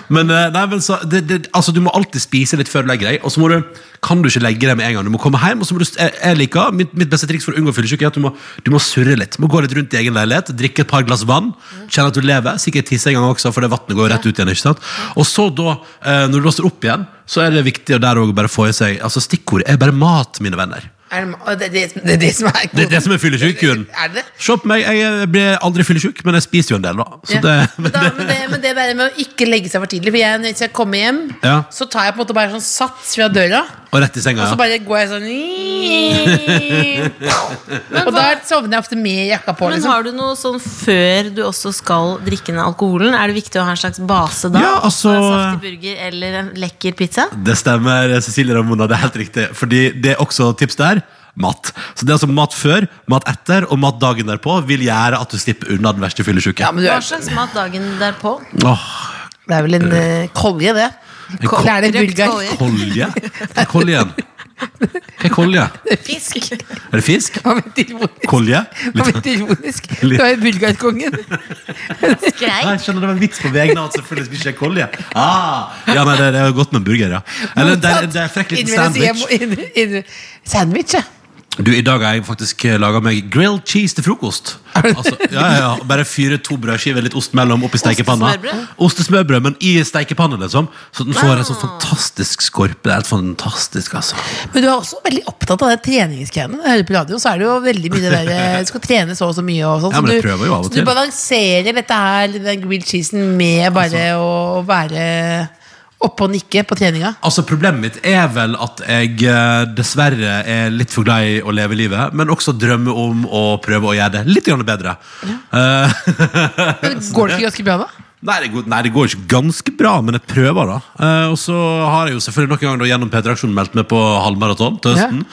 [SPEAKER 5] Men, eh, nei, men så, det, det, altså, du må alltid spise litt før du legger deg. Og så må du, kan du ikke legge deg med en gang. Du må komme hjem. Og så må du, jeg, jeg liker, mitt, mitt beste triks for å unngå fyllesyke er at du må, du må surre litt. Du må Gå litt rundt i egen leilighet, drikke et par glass vann. Kjenne at du lever. Sikkert tisse en gang også, for det vannet går rett ut igjen. ikke sant? Og så da, eh, når du låser opp igjen, så er det viktig å der også bare få i seg altså Stikkordet er bare mat, mine venner.
[SPEAKER 7] Er det, og det, er det, som- det er det som er
[SPEAKER 5] Det er det som er fyllesyk, Jørn.
[SPEAKER 7] Er det det?
[SPEAKER 5] Se på meg, jeg blir aldri fyllesyk, men jeg spiser jo en del, da. Så
[SPEAKER 7] Ja.
[SPEAKER 5] det,
[SPEAKER 7] men, da, men, det, men det er bare med å ikke legge seg for tidlig. For jeg, Hvis jeg kommer hjem,
[SPEAKER 5] Ja.
[SPEAKER 7] så tar jeg på en måte bare sånn sats fra døra,
[SPEAKER 5] og rett i senga,
[SPEAKER 7] og så
[SPEAKER 5] ja.
[SPEAKER 7] bare går jeg sånn Og da sovner jeg ofte med jakka på.
[SPEAKER 4] Men
[SPEAKER 7] Liksom.
[SPEAKER 4] har du noe sånn før du også skal drikke ned alkoholen? Er det viktig å ha en slags base da?
[SPEAKER 5] Ja, altså-
[SPEAKER 4] En saftig burger eller en lekker pizza?
[SPEAKER 5] Det stemmer, Cecilie Ramona, det er helt riktig. Fordi det er også tips der. Mat. Så det er altså mat før, mat etter og mat dagen derpå vil gjøre at du slipper unna den verste fyllesyke.
[SPEAKER 7] Ja, men du
[SPEAKER 4] Hva
[SPEAKER 7] er,
[SPEAKER 4] slags mat dagen derpå?
[SPEAKER 5] Åh,
[SPEAKER 7] det er vel en eh, kolje, det.
[SPEAKER 5] kol-
[SPEAKER 7] Eller er det en
[SPEAKER 4] Røkt
[SPEAKER 7] bulgar?
[SPEAKER 4] kolje.
[SPEAKER 5] kolje? Hva er kolje igjen? Hva er kolje?
[SPEAKER 7] Fisk. Det
[SPEAKER 5] Er det fisk?
[SPEAKER 7] var veldig ironisk.
[SPEAKER 5] Kolje?
[SPEAKER 7] Det var
[SPEAKER 5] Litt.
[SPEAKER 7] veldig ironisk. Det var jo bulgarkongen.
[SPEAKER 5] Nei,
[SPEAKER 4] Greit.
[SPEAKER 5] jeg skjønner det var en vits på vegne av at selvfølgelig spiser jeg kolje. Ah, ja, nei, det, det er jo godt med en burger, ja. Eller det, er- det er en frekk liten
[SPEAKER 7] Innimellom sier jeg
[SPEAKER 5] sandwich.
[SPEAKER 7] må- inn- inn- Sandwich, ja.
[SPEAKER 5] Du, I dag har jeg faktisk laga meg grilled cheese til frokost. Altså, ja, ja, ja. Bare fyre to brødskiver, litt ost mellom, oppi steikepanna.
[SPEAKER 4] Ostesmørbrød?
[SPEAKER 5] Ostesmørbrød, men i steikepanna, liksom. Så den får en sånn fantastisk skorpe. Det er helt fantastisk, altså.
[SPEAKER 7] Men du er også veldig opptatt av det treningsgreiene. Når jeg hører på radio, så er det jo veldig mye det der Du skal trene så og så mye og sånn.
[SPEAKER 5] Ja, men
[SPEAKER 7] så
[SPEAKER 5] jeg
[SPEAKER 7] du,
[SPEAKER 5] prøver jo av og
[SPEAKER 7] så
[SPEAKER 5] til.
[SPEAKER 7] du balanserer dette her, den grilled cheesen, med
[SPEAKER 5] Altså-
[SPEAKER 7] bare å være oppe og nikke på treninga.
[SPEAKER 5] Altså, Problemet mitt er vel at jeg eh, dessverre er litt for glad i å leve livet, men også drømmer om å prøve å gjøre det litt grann bedre. Eh,
[SPEAKER 7] Men
[SPEAKER 5] altså
[SPEAKER 7] går det ikke ganske bra da?
[SPEAKER 5] Nei det, går, nei, det går ikke ganske bra, men jeg prøver, da. Eh, og så har jeg jo selvfølgelig noen ganger da, gjennom P3 Aksjon meldt meg på halvmaraton til høsten.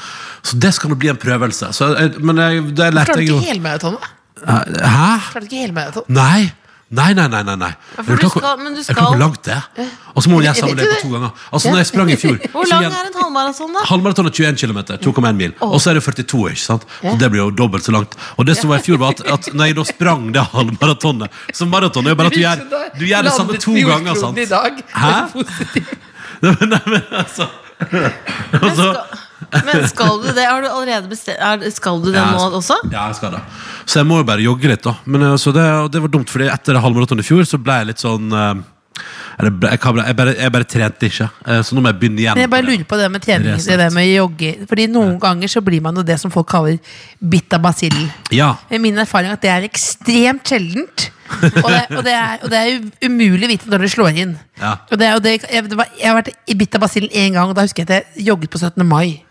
[SPEAKER 5] Så det skal jo bli en prøvelse. Så jeg, men jeg, det lærte
[SPEAKER 7] Klarer du
[SPEAKER 5] jeg jo
[SPEAKER 7] ikke helmaraton? da?
[SPEAKER 5] Hæ?
[SPEAKER 7] Klarer du ikke helmaraton?
[SPEAKER 5] Nei! Nei, nei, nei. nei, nei.
[SPEAKER 4] for du
[SPEAKER 5] Er klar
[SPEAKER 4] skal-
[SPEAKER 5] hvor-
[SPEAKER 4] men du
[SPEAKER 5] er
[SPEAKER 4] skal-
[SPEAKER 5] klar hvor langt det er? Og så må jeg
[SPEAKER 7] Jeg
[SPEAKER 5] samle
[SPEAKER 7] vet jo
[SPEAKER 5] det på
[SPEAKER 7] det.
[SPEAKER 5] to ganger. Altså, når jeg sprang i fjor
[SPEAKER 4] Hvor
[SPEAKER 5] så
[SPEAKER 4] lang
[SPEAKER 5] igjen-
[SPEAKER 4] er en halvmaraton, da?
[SPEAKER 5] Halvmaraton er 21 km, 2,1 mil. Og så er det 42, ikke sant? Så det blir jo dobbelt så langt. Og det som var i fjor, var at, at når jeg da sprang det halvmaratonet Så maraton er jo bare at du gjør, du gjør det samme to ganger, sant?
[SPEAKER 7] I dag,
[SPEAKER 5] Hæ? Nei, men, nei, men altså Og
[SPEAKER 4] Men
[SPEAKER 5] så-
[SPEAKER 4] skal, men skal du det? Har du allerede bestemt er- Skal du det
[SPEAKER 5] Ja, altså-
[SPEAKER 4] nå
[SPEAKER 5] jeg skal-
[SPEAKER 4] også?
[SPEAKER 5] Ja, jeg skal det. Så jeg må jo bare jogge litt, da. Men eh, så det, og det var dumt, fordi etter halvmaraton i fjor så ble jeg litt sånn eh, eller ble- jeg, kan- jeg, bare, jeg bare trente ikke, Eh, så nå må jeg begynne igjen.
[SPEAKER 7] Men jeg bare lurer på det med trening,
[SPEAKER 5] Resett.
[SPEAKER 7] det der med jogge. Fordi noen ganger så blir man jo det som folk kaller bitta basillen.
[SPEAKER 5] Ja.
[SPEAKER 7] Men min erfaring er at det er ekstremt sjeldent. og, det, og, det er, og det er jo umulig å vite når det slår inn.
[SPEAKER 5] Ja.
[SPEAKER 7] Og det, er- og det, jeg, det var, jeg har vært i bitt av basillen én gang, og da husker jeg at jeg jogget på 17. mai.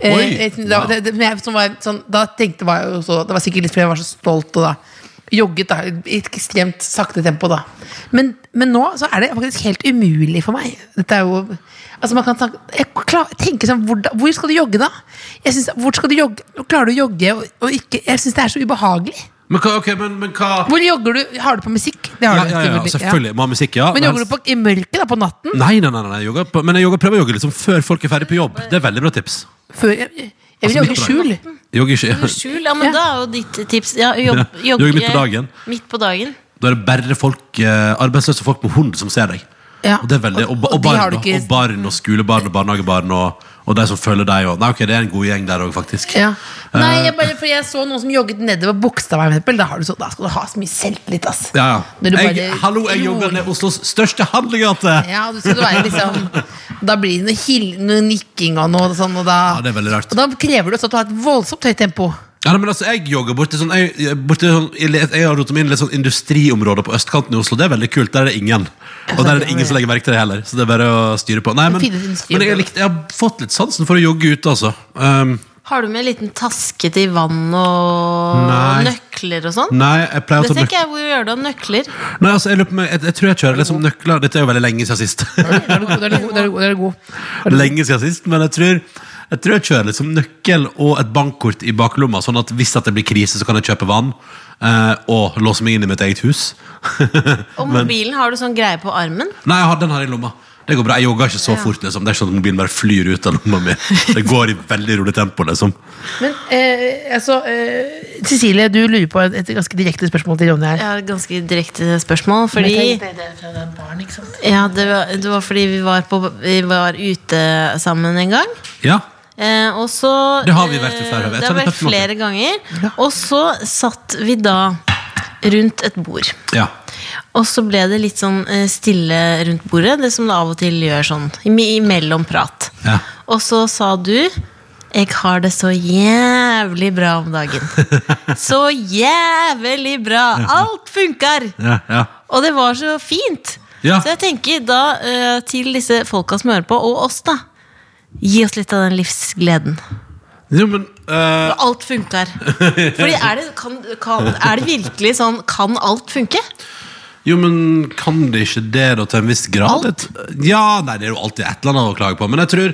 [SPEAKER 7] Eh,
[SPEAKER 5] Oi,
[SPEAKER 7] jeg- da,
[SPEAKER 5] wow.
[SPEAKER 7] det, det, men jeg, som var, sånn, da tenkte var jeg jo så, Det var sikkert litt fordi jeg var så stolt. Og da
[SPEAKER 11] jogget da, i et ekstremt sakte tempo. da
[SPEAKER 7] Men, men nå så er det faktisk helt umulig for meg. Dette er jo Altså man kan snakke, jeg klar, tenker sånn hvor, da- hvor skal du jogge, da? Jeg synes, hvor skal du jogge? Klarer du å jogge og, og ikke Jeg syns det er så ubehagelig.
[SPEAKER 5] Men hva, ok, men, men hva
[SPEAKER 7] Hvor jogger du? Har du på musikk? Det
[SPEAKER 5] ja,
[SPEAKER 7] har du
[SPEAKER 5] ja, ja,
[SPEAKER 7] sikkert.
[SPEAKER 5] Selvfølgelig. Må ha musikk, ja.
[SPEAKER 7] Men jogger
[SPEAKER 5] helst-
[SPEAKER 7] du på, i mørket da, på natten?
[SPEAKER 5] Nei, nei, nei, nei, jeg jogger på, men jeg jogger, prøver å jogge liksom før folk er ferdig på jobb. Det er veldig bra tips.
[SPEAKER 7] Før, jeg, jeg vil
[SPEAKER 5] Altså,
[SPEAKER 7] jogge i
[SPEAKER 5] midt på
[SPEAKER 7] skjul.
[SPEAKER 5] Jogger ikke,
[SPEAKER 4] Under skjul, ja, men da er jo ditt tips ja, jobb,
[SPEAKER 5] Ja, jogg midt på dagen.
[SPEAKER 4] Midt på dagen.
[SPEAKER 5] Da er det bare folk, eh, arbeidsløse folk med hund som ser deg.
[SPEAKER 7] Ja.
[SPEAKER 5] Og, det er veldig, og, ba-
[SPEAKER 7] Og- og
[SPEAKER 5] og,
[SPEAKER 7] de har
[SPEAKER 5] barn,
[SPEAKER 7] du
[SPEAKER 5] og,
[SPEAKER 7] ikke-
[SPEAKER 5] og barn og skolebarn og barnehagebarn og, og de som følger deg. Og, nei, ok, Det er en god gjeng der òg, faktisk.
[SPEAKER 7] Ja. Nei,
[SPEAKER 5] Eh,
[SPEAKER 7] jeg bare, for jeg så noen som jogget nedover Bogstadveien. for eksempel. Da, har du så, da skal du ha så mye selvtillit, ass.
[SPEAKER 5] Ja,
[SPEAKER 7] Når
[SPEAKER 5] ja.
[SPEAKER 7] du
[SPEAKER 5] Jeg,
[SPEAKER 7] bare
[SPEAKER 5] hallo, jeg jobber ned Oslos største handlegate!
[SPEAKER 7] Ja, du skal være liksom Da blir det noe, hil, noe nikking og noe sånn, og da,
[SPEAKER 5] Ja, det er veldig rart.
[SPEAKER 7] og da krever det også at du har et voldsomt høyt tempo.
[SPEAKER 5] Ja, nei, men altså, Jeg jogger borti sånn, jeg, jeg- borti sånn jeg, le- jeg har rotet meg inn i litt sånn industriområder på østkanten i Oslo. Det er veldig kult. Der er det ingen. Og der er det ingen som legger merke til det heller. Så det er bare å styre på. Nei, men,
[SPEAKER 7] Fine industriområder.
[SPEAKER 5] men jeg, likte, jeg har fått litt sansen for å jogge ute, altså. Um,
[SPEAKER 4] Har du med en liten taske til vann og
[SPEAKER 5] Nei.
[SPEAKER 4] nøkler og sånn?
[SPEAKER 5] nei, jeg pleier å
[SPEAKER 4] Det
[SPEAKER 5] ta
[SPEAKER 4] ser
[SPEAKER 5] nøk
[SPEAKER 4] ikke jeg hvor du gjør det av nøkler.
[SPEAKER 5] Nei, altså, jeg, lurer på meg, jeg, jeg tror jeg kjører liksom nøkler. Dette er jo veldig lenge siden sist.
[SPEAKER 7] Da er du god. Da er du god, da er du god, da er du god.
[SPEAKER 5] lenge siden sist, men jeg tror jeg tror jeg kjører liksom nøkkel og et bankkort i baklomma, sånn at hvis at det blir krise, så kan jeg kjøpe vann eh, og låse meg inn i mitt eget hus.
[SPEAKER 4] Og mobilen har du sånn greie på armen.
[SPEAKER 5] Nei, jeg har den her i lomma. Det går bra, Jeg jogger ikke så fort. liksom Det er ikke sånn at mobilen bare flyr ut av lomma mi. Det går i veldig rolig tempo. liksom
[SPEAKER 7] Men eh, altså eh, Cecilie, du lurer på et, et ganske direkte spørsmål til Ronny
[SPEAKER 4] Jeg
[SPEAKER 7] her.
[SPEAKER 4] har et ganske direkte spørsmål. Fordi ja, det, var, det var fordi vi var, på, vi var ute sammen en gang.
[SPEAKER 5] Ja,
[SPEAKER 4] Eh, og så
[SPEAKER 5] Det har vi vært i flere-
[SPEAKER 4] eh, det
[SPEAKER 5] jeg tar
[SPEAKER 4] har
[SPEAKER 5] det
[SPEAKER 4] vært
[SPEAKER 5] på en måte.
[SPEAKER 4] flere ganger. Og så satt vi da rundt et bord.
[SPEAKER 5] ja
[SPEAKER 4] Og så ble det litt sånn eh, stille rundt bordet, det som det av og til gjør sånn im- imellom prat.
[SPEAKER 5] Ja.
[SPEAKER 4] Og så sa du 'Jeg har det så jævlig bra om dagen'. så jævlig bra! Alt funker!
[SPEAKER 5] ja, ja.
[SPEAKER 4] Og det var så fint.
[SPEAKER 5] Ja.
[SPEAKER 4] Så jeg tenker da eh, til disse folka som hører på, og oss, da. Gi oss litt av den livsgleden.
[SPEAKER 5] Jo, men eh,
[SPEAKER 4] Og alt funker. Fordi er det, kan, kan, er det virkelig sånn Kan alt funke?
[SPEAKER 5] Jo, men kan det ikke det da til en viss grad? Ja, nei, det er jo alltid et eller annet å klage på. Men jeg tror,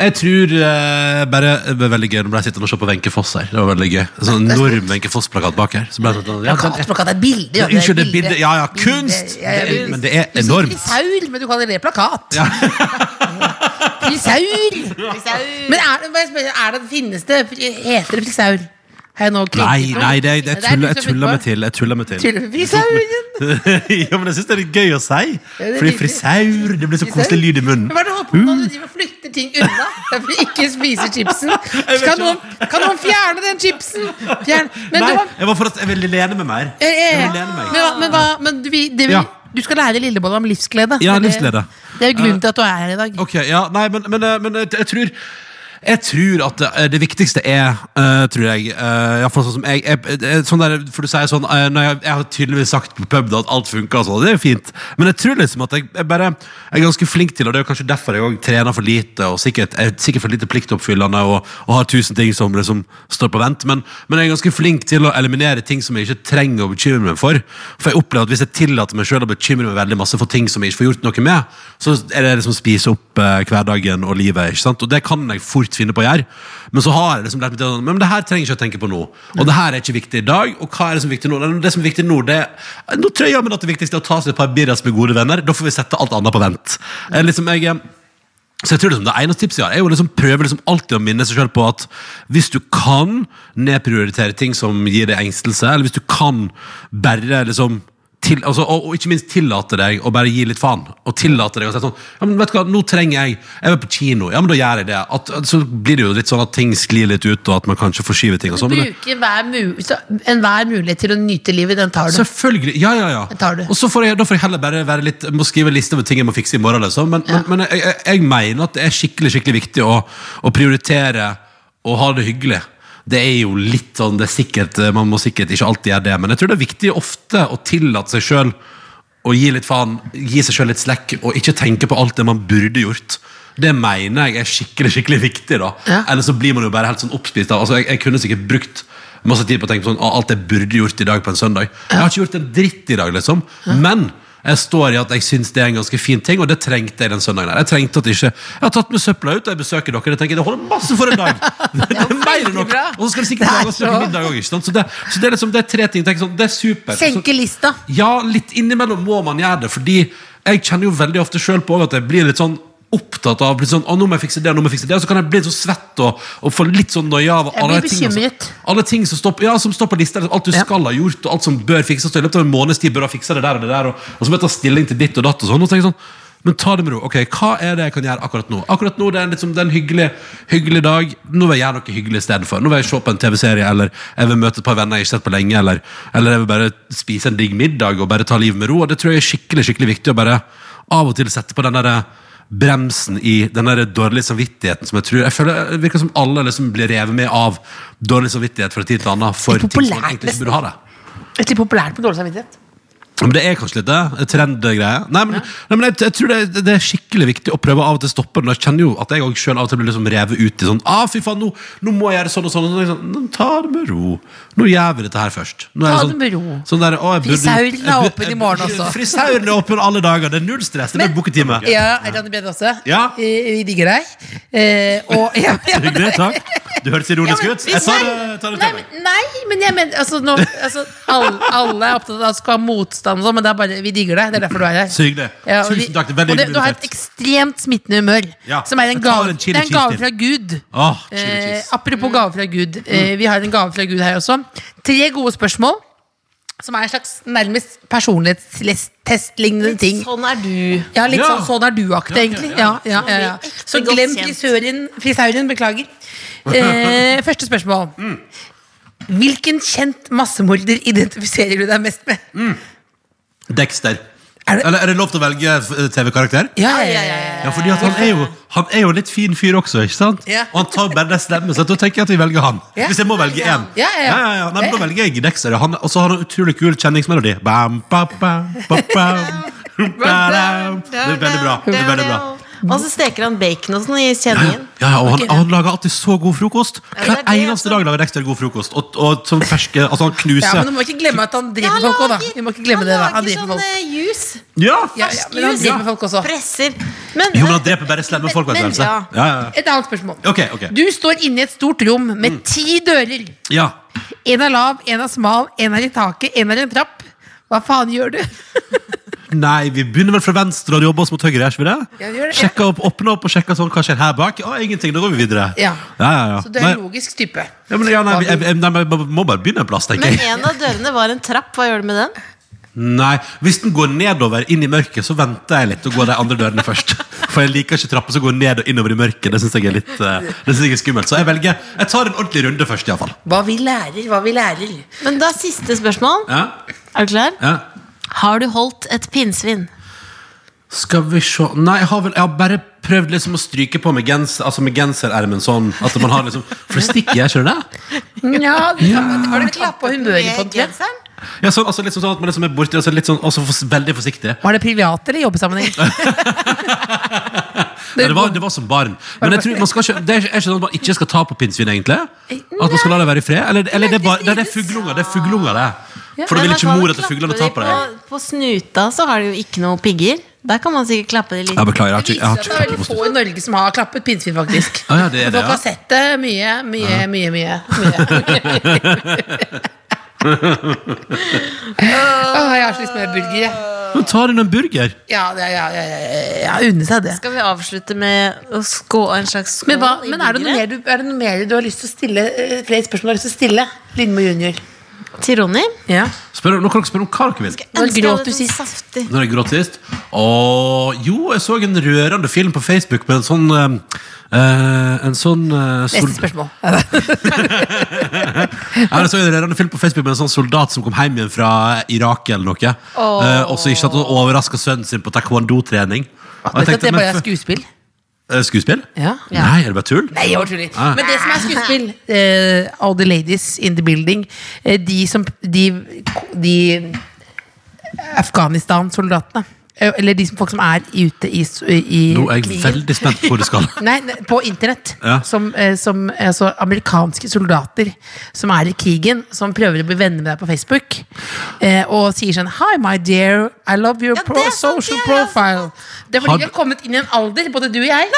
[SPEAKER 5] jeg tror eh, bare Det ble veldig gøy når jeg sitter og ser på Wenche Foss her. Det var veldig gøy. En sånn enorm Wenche Foss-plakat bak her. Så ble jeg sånn, ja, den er,
[SPEAKER 7] Plakat er bilde. ja,
[SPEAKER 5] unnskyld, det er
[SPEAKER 7] bilde.
[SPEAKER 5] bildet. Ja, ja,
[SPEAKER 7] Bilde,
[SPEAKER 5] kunst!
[SPEAKER 7] ja, ja,
[SPEAKER 5] Det er,
[SPEAKER 7] bilde.
[SPEAKER 5] men det er
[SPEAKER 7] Du sier
[SPEAKER 5] enormt.
[SPEAKER 7] Frisaul, men du kaller det plakat. frisaul! Men er, det- bare spør- er det, finnes det Heter det frisaul? Har jeg nå
[SPEAKER 5] Nei,
[SPEAKER 7] krenket på?
[SPEAKER 5] nei, det, det, liksom jeg
[SPEAKER 7] Det er liksom du
[SPEAKER 5] tuller, jeg
[SPEAKER 7] som
[SPEAKER 5] tuller
[SPEAKER 7] finner
[SPEAKER 5] meg til. Jeg tuller meg
[SPEAKER 7] på.
[SPEAKER 5] til.
[SPEAKER 7] Tuller med Frisauren!
[SPEAKER 5] ja, men jeg syns det er litt gøy å si.
[SPEAKER 7] det er
[SPEAKER 5] Fordi
[SPEAKER 7] nydelig.
[SPEAKER 5] frisaur Det blir så koselig lyd i munnen. Mm.
[SPEAKER 7] Men Hva er det du holder på med når du driver og flytter ting unna? Derfor du ikke spiser chipsen. Kan noen, kan noen fjerne den chipsen? Fjern. Men,
[SPEAKER 5] Nei,
[SPEAKER 7] du, har-
[SPEAKER 5] jeg var for at jeg ville lene meg mer.
[SPEAKER 7] eh, eh,
[SPEAKER 5] Jeg vil lene meg.
[SPEAKER 7] men, hva- men, hva- men du, vi- det, vi,
[SPEAKER 5] Ja.
[SPEAKER 7] du skal lære Lillebolla om livsglede.
[SPEAKER 5] Ja,
[SPEAKER 7] Det-
[SPEAKER 5] livsglede.
[SPEAKER 7] Det er jo grunnen til at du er her i dag.
[SPEAKER 5] Ok, ja, nei, men, men, eh, men jeg, jeg tror jeg tror at det, det viktigste er, eh, tror jeg, eh, i hvert fall sånn som jeg, jeg, jeg sånn der, For du sier sånn eh, når jeg, jeg har tydeligvis sagt på pub da at alt funker, altså, og det er jo fint. Men jeg tror liksom at jeg, jeg bare jeg er ganske flink til, og det er jo kanskje derfor jeg også trener for lite, og sikkert, jeg er sikkert for lite pliktoppfyllende og, og har tusen ting som liksom står på vent, men, men jeg er ganske flink til å eliminere ting som jeg ikke trenger å bekymre meg for. For jeg opplever at hvis jeg tillater meg selv å bekymre meg veldig masse for ting som jeg ikke får gjort noe med, så er det liksom spise opp eh, hverdagen og livet. ikke sant? Og det kan jeg fort finne på å gjøre. Men så har jeg liksom lært meg til sånn, men det her trenger jeg ikke å tenke på nå. Og det her er ikke viktig i dag. Og hva er det som er viktig nå? Nei, Det som er viktig nå, det er Nå tror jeg jammen at det viktigste er å ta seg et par birras med gode venner. Da får vi sette alt annet på vent. Eh, Liksom, jeg... eh, så jeg tror liksom Det eneste tipset jeg har, er jo liksom prøve liksom alltid å minne seg selv på at hvis du kan nedprioritere ting som gir deg engstelse, eller hvis du kan bare liksom til, altså, og, og ikke minst tillate deg å bare gi litt faen. Og tillate deg å si sånn ja, men vet du hva, 'Nå trenger jeg Jeg vil på kino.' Ja, men da gjør jeg det. At, at, så blir det jo litt sånn at ting sklir litt ut, og at man kanskje forskyver ting. og sånn men det-
[SPEAKER 7] Bruke enhver mu- så- enhver mulighet til å nyte livet, den tar du.
[SPEAKER 5] Selvfølgelig, ja, ja, ja
[SPEAKER 7] tar du.
[SPEAKER 5] Og så får jeg, da får jeg heller bare være litt Må skrive en liste over ting jeg må fikse i morgen liksom. Men, men, men jeg, jeg, jeg mener at det er skikkelig, skikkelig viktig Å, å prioritere Å ha det hyggelig det er jo litt sånn, det er sikkert, man må sikkert ikke alltid gjøre det, men jeg tror det er viktig ofte å tillate seg selv, å gi litt faen, gi seg selv litt slekk, og ikke tenke på alt det man burde gjort. Det mener jeg er skikkelig, skikkelig viktig da. Eller så blir man jo bare helt sånn oppspist av, altså jeg, jeg kunne sikkert brukt masse tid på å tenke på sånn, «Å, alt jeg burde gjort i dag på en søndag. Jeg har ikke gjort en dritt i dag, liksom. Men jeg står i at jeg syns det er en ganske fin ting, og det trengte jeg den søndagen. her. Jeg trengte at det ikke, jeg har tatt med søpla ut, og jeg besøker dere. Jeg tenker, det holder masse for en dag! Det er mer enn nok. Og så skal det sikkert lages noe middag også, ikke sant? Så det, så det er liksom det er tre ting. Tenk sånn, det er supert. Så-
[SPEAKER 7] Senke lista.
[SPEAKER 5] ja, litt innimellom må man gjøre det, fordi jeg kjenner jo veldig ofte sjøl på at jeg blir litt sånn opptatt av litt sånn, å, nå må jeg fikse det, nå må jeg fikse det, og så kan jeg bli litt så svett og, og få litt sånn nøye av
[SPEAKER 7] Jeg blir
[SPEAKER 5] tingene som-
[SPEAKER 7] bekymret.
[SPEAKER 5] alle ting som står, på- ja, som står på lista, alt du skal ha gjort, og alt som bør fikses, og i løpet av en måneds tid bør du ha fiksa det der og det der, og, og så må jeg ta stilling til ditt og datt og sånn, og tenker jeg sånn, men ta det med ro. Ok, hva er det jeg kan gjøre akkurat nå? Akkurat nå det er, liksom, det er en hyggelig, hyggelig dag. Nå vil jeg gjøre noe hyggelig i stedet for. Nå vil jeg se på en TV-serie, eller jeg vil møte et par venner jeg ikke har sett på lenge, eller, eller jeg vil bare spise en digg middag og bare ta livet med ro. Og det tror jeg er skikkelig, skikkelig viktig å bare av og til sette på den derre bremsen i den der dårlige samvittigheten som jeg tror Jeg føler det virker som alle liksom blir revet med av dårlig samvittighet fra tid til annen. For
[SPEAKER 7] Det er
[SPEAKER 5] ting som man
[SPEAKER 7] populært,
[SPEAKER 5] egentlig ikke
[SPEAKER 7] nesten.
[SPEAKER 5] burde ha det.
[SPEAKER 7] Et litt populært med dårlig samvittighet.
[SPEAKER 5] Men det er kanskje litt det. Trendgreie. Nei, men, nei, men jeg, jeg tror det, er- det er skikkelig viktig å prøve av og til å stoppe den. Jeg kjenner jo at jeg også selv av og til blir liksom revet ut i sånn ah, fy faen, nå, nå må jeg gjøre sånn og sånn. Og så tenker jeg sånn «Nå, ta det med ro. Nå gjør vi dette her først. Nå er
[SPEAKER 7] Ta
[SPEAKER 5] sånn,
[SPEAKER 7] det med ro.
[SPEAKER 5] Sånn der, å, jeg burde-
[SPEAKER 7] Frisauren er
[SPEAKER 5] jeg burde-
[SPEAKER 7] åpen i morgen også.
[SPEAKER 5] Frisauren er åpen alle dager. Det er null stress. Det er booketime.
[SPEAKER 7] Ja, Randi Brede også.
[SPEAKER 5] Ja.
[SPEAKER 7] Eh, Vi digger deg. Eh, og ja, ja, men-
[SPEAKER 5] Hyggelig, takk. Du hørtes ironisk ut. Jeg tar det, tar
[SPEAKER 7] Nei,
[SPEAKER 5] det til meg.
[SPEAKER 7] men- nei, men jeg mener altså, nå, altså, alle, alle er opptatt av at du skal ha motstand, og sånn, men det er bare, vi digger deg. Det er derfor du er her.
[SPEAKER 5] Så hyggelig.
[SPEAKER 7] Ja, og vi-
[SPEAKER 5] Tusen takk. Det er veldig
[SPEAKER 7] og det,
[SPEAKER 5] hyggelig
[SPEAKER 7] du har et
[SPEAKER 5] besøk.
[SPEAKER 7] ekstremt smittende humør,
[SPEAKER 5] Ja.
[SPEAKER 7] som er en
[SPEAKER 5] Jeg tar
[SPEAKER 7] gave,
[SPEAKER 5] en
[SPEAKER 7] det
[SPEAKER 5] chili
[SPEAKER 7] er en
[SPEAKER 5] cheese
[SPEAKER 7] gave
[SPEAKER 5] til.
[SPEAKER 7] fra Gud.
[SPEAKER 5] Åh, Ah, chili
[SPEAKER 7] Eh,
[SPEAKER 5] cheese.
[SPEAKER 4] Mm.
[SPEAKER 7] apropos gave fra Gud. Eh, vi har en gave fra Gud her også. Tre gode spørsmål. Som er en slags nærmest personlighetstest-lignende ting.
[SPEAKER 4] Sånn er du.
[SPEAKER 7] Ja, litt
[SPEAKER 5] Ja.
[SPEAKER 7] sånn sånn er du-aktig, egentlig. Ja, ja, ja, ja. Så
[SPEAKER 4] Ekte godt
[SPEAKER 7] glem
[SPEAKER 4] kjent.
[SPEAKER 7] frisøren, frisauren, beklager. Eh, første spørsmål. Hvilken kjent massemorder identifiserer du deg mest med?
[SPEAKER 5] Dexter.
[SPEAKER 7] Er det-
[SPEAKER 5] Eller er det lov til å velge eh, TV-karakter?
[SPEAKER 7] Ja, ja, ja, ja.
[SPEAKER 5] Ja, fordi at han er jo Han er jo litt fin fyr også, ikke sant?
[SPEAKER 7] Ja.
[SPEAKER 5] Og han tar bare den stemmen, så da tenker jeg at vi velger han.
[SPEAKER 7] Ja.
[SPEAKER 5] Hvis jeg må velge én.
[SPEAKER 7] Ja, ja, ja.
[SPEAKER 5] Nei, men Da velger jeg Dexter. Han, og så har han utrolig kul kjenningsmelodi. Bam, ba, bam, ba, bam. Ba-dam. Det er veldig bra. Det er veldig bra.
[SPEAKER 4] Og så steker han bacon og sånn i kjenningen.
[SPEAKER 5] Ja, og han, han lager alltid så god frokost.
[SPEAKER 4] det
[SPEAKER 5] Hver
[SPEAKER 4] er det,
[SPEAKER 5] eneste
[SPEAKER 4] altså.
[SPEAKER 5] dag lager Dexter god frokost. Og, og sånn ferske Altså, han
[SPEAKER 7] Ja,
[SPEAKER 5] knuser.
[SPEAKER 7] men du må ikke glemme at han driver med folk også, da. Vi må ikke glemme det, da. Han driver med
[SPEAKER 4] sånn
[SPEAKER 7] folk.
[SPEAKER 4] eh, juice.
[SPEAKER 5] Ja.
[SPEAKER 7] Ja, ja, men han
[SPEAKER 4] juice.
[SPEAKER 7] driver med folk også.
[SPEAKER 4] Presser. Men,
[SPEAKER 5] Jo, men han dreper bare slemme folk. vet du,
[SPEAKER 4] Men-
[SPEAKER 5] Else.
[SPEAKER 4] ja.
[SPEAKER 5] Ja, ja, ja.
[SPEAKER 7] Et annet spørsmål.
[SPEAKER 5] Ok, ok.
[SPEAKER 7] Du står inne i et stort rom
[SPEAKER 5] Mm.
[SPEAKER 7] med ti dører.
[SPEAKER 5] Ja.
[SPEAKER 7] En er lav, en er smal, en er i taket, en er i en trapp. Hva faen gjør du?
[SPEAKER 5] Nei, vi begynner vel fra venstre og jobber oss mot høyre. er ikke vi det?
[SPEAKER 7] Ja, vi gjør det.
[SPEAKER 5] Sjekker opp, åpner opp og sjekker sånn, hva skjer her bak? Å, ingenting, da går vi videre.
[SPEAKER 7] Ja.
[SPEAKER 5] ja, ja, ja.
[SPEAKER 7] Så du er en
[SPEAKER 5] nei,
[SPEAKER 7] logisk type.
[SPEAKER 5] ja, men, ja, nei, vi- jeg, jeg, nei, men jeg må bare begynne en plass, tenker
[SPEAKER 4] men
[SPEAKER 5] jeg.
[SPEAKER 4] en av dørene var en trapp. Hva gjør du med den?
[SPEAKER 5] Nei, Hvis den går nedover inn i mørket, så venter jeg litt og går de andre dørene først. For jeg liker ikke trapper som går ned og innover i mørket. Det syns jeg er litt eh, det synes jeg er skummelt. Så jeg velger, jeg tar en ordentlig runde først, iallfall.
[SPEAKER 7] Hva vi lærer, hva vi lærer.
[SPEAKER 4] Men da siste spørsmål.
[SPEAKER 5] Ja,
[SPEAKER 4] Er du klar?
[SPEAKER 5] ja.
[SPEAKER 4] Har du holdt et pinnsvin?
[SPEAKER 5] Skal vi se Nei, jeg har, vel, jeg har bare prøvd liksom å stryke på med, gens, altså med genserermen sånn. At man har liksom For det stikker jeg, skjønner du? det?
[SPEAKER 7] Ja, du kan- Har du klappa humøret på den?
[SPEAKER 5] Ja, sånn, altså, liksom sånn at man liksom er borti og så litt sånn, også for, veldig forsiktig.
[SPEAKER 7] Var det privat eller jobbesammenheng?
[SPEAKER 5] Ja, det, var, det var som barn. Men jeg tror man skal ikke, det er ikke er ikke sånn at man ikke skal ta på pinnsvin, egentlig. At man skal la det være i fred. Eller, eller det, er bare, nei, det er fugleunger, det. er fuglunger, det For da vil
[SPEAKER 4] Men
[SPEAKER 5] ikke
[SPEAKER 4] hva
[SPEAKER 5] mor
[SPEAKER 4] da
[SPEAKER 5] at fuglene
[SPEAKER 4] klapper
[SPEAKER 5] tar på
[SPEAKER 4] de
[SPEAKER 5] deg.
[SPEAKER 4] På, på snuta så har de jo ikke noe pigger. Der kan man sikkert klappe det litt.
[SPEAKER 5] Ja, beklager, jeg har
[SPEAKER 7] Det
[SPEAKER 5] ikke,
[SPEAKER 7] viser at
[SPEAKER 5] jeg har
[SPEAKER 7] det er
[SPEAKER 5] ikke klart
[SPEAKER 7] veldig
[SPEAKER 5] det
[SPEAKER 7] få i Norge som har klappet pinnsvin, faktisk.
[SPEAKER 5] Ah, ja, det er det,
[SPEAKER 7] Folk har
[SPEAKER 5] ja.
[SPEAKER 7] sett det mye, mye, mye. mye, mye. Åh, jeg har så lyst på mer burger. jeg.
[SPEAKER 5] Men ta deg en burger.
[SPEAKER 7] Ja, ja, ja, ja, ja, ja, unne seg det.
[SPEAKER 4] Skal vi avslutte med å skå, en slags skål
[SPEAKER 7] Men, hva,
[SPEAKER 4] i
[SPEAKER 7] men er, det noe mer
[SPEAKER 4] buggeret
[SPEAKER 7] du, er det noe mer du har lyst til å stille? eh, Flere spørsmål du har lyst til å stille? Lindmo junior.
[SPEAKER 4] til Ronny?
[SPEAKER 7] Ja.
[SPEAKER 5] Spør, nå kan dere spørre om hva dere vil.
[SPEAKER 7] Når
[SPEAKER 4] Ønsker jeg
[SPEAKER 7] gråt
[SPEAKER 4] hadde
[SPEAKER 7] du
[SPEAKER 4] noe
[SPEAKER 7] sist?
[SPEAKER 4] Saftig.
[SPEAKER 5] Når jeg gråt sist? Åh, jo, jeg så en rørende film på Facebook med en sånn eh, eh, En sånn eh, sol-
[SPEAKER 7] Neste spørsmål.
[SPEAKER 5] Ja, jeg så en rørende film på Facebook med en sånn soldat som kom hjem igjen fra Irak eller noe. Eh, og så ikke sant, og overraska sønnen sin på taekwondo-trening. Og
[SPEAKER 7] Vet
[SPEAKER 5] jeg
[SPEAKER 7] du at
[SPEAKER 5] tenkte,
[SPEAKER 7] det bare
[SPEAKER 5] men
[SPEAKER 7] er
[SPEAKER 5] for-
[SPEAKER 7] skuespill?
[SPEAKER 5] eh, Skuespill?
[SPEAKER 7] Ja.
[SPEAKER 5] Nei, er det bare tull?
[SPEAKER 7] Nei, jeg bare tuller.
[SPEAKER 5] Ah.
[SPEAKER 7] Men det som er skuespill, eh, all the ladies in the building, eh, de som De, de eh, Afghanistan-soldatene. eh, Eller de som, folk som er ute i, s- i
[SPEAKER 5] Nå er jeg
[SPEAKER 7] krigen.
[SPEAKER 5] veldig spent på hvor du skal.
[SPEAKER 7] Nei, ne- på internett.
[SPEAKER 5] Ja.
[SPEAKER 7] Som, eh, som altså, amerikanske soldater som er i krigen, som prøver å bli venner med deg på Facebook. Eh, og sier sånn Hi, my dear. I love your pro social profile. Det er fordi
[SPEAKER 5] Har
[SPEAKER 7] de har
[SPEAKER 5] du-
[SPEAKER 7] kommet inn i en alder, både du og jeg,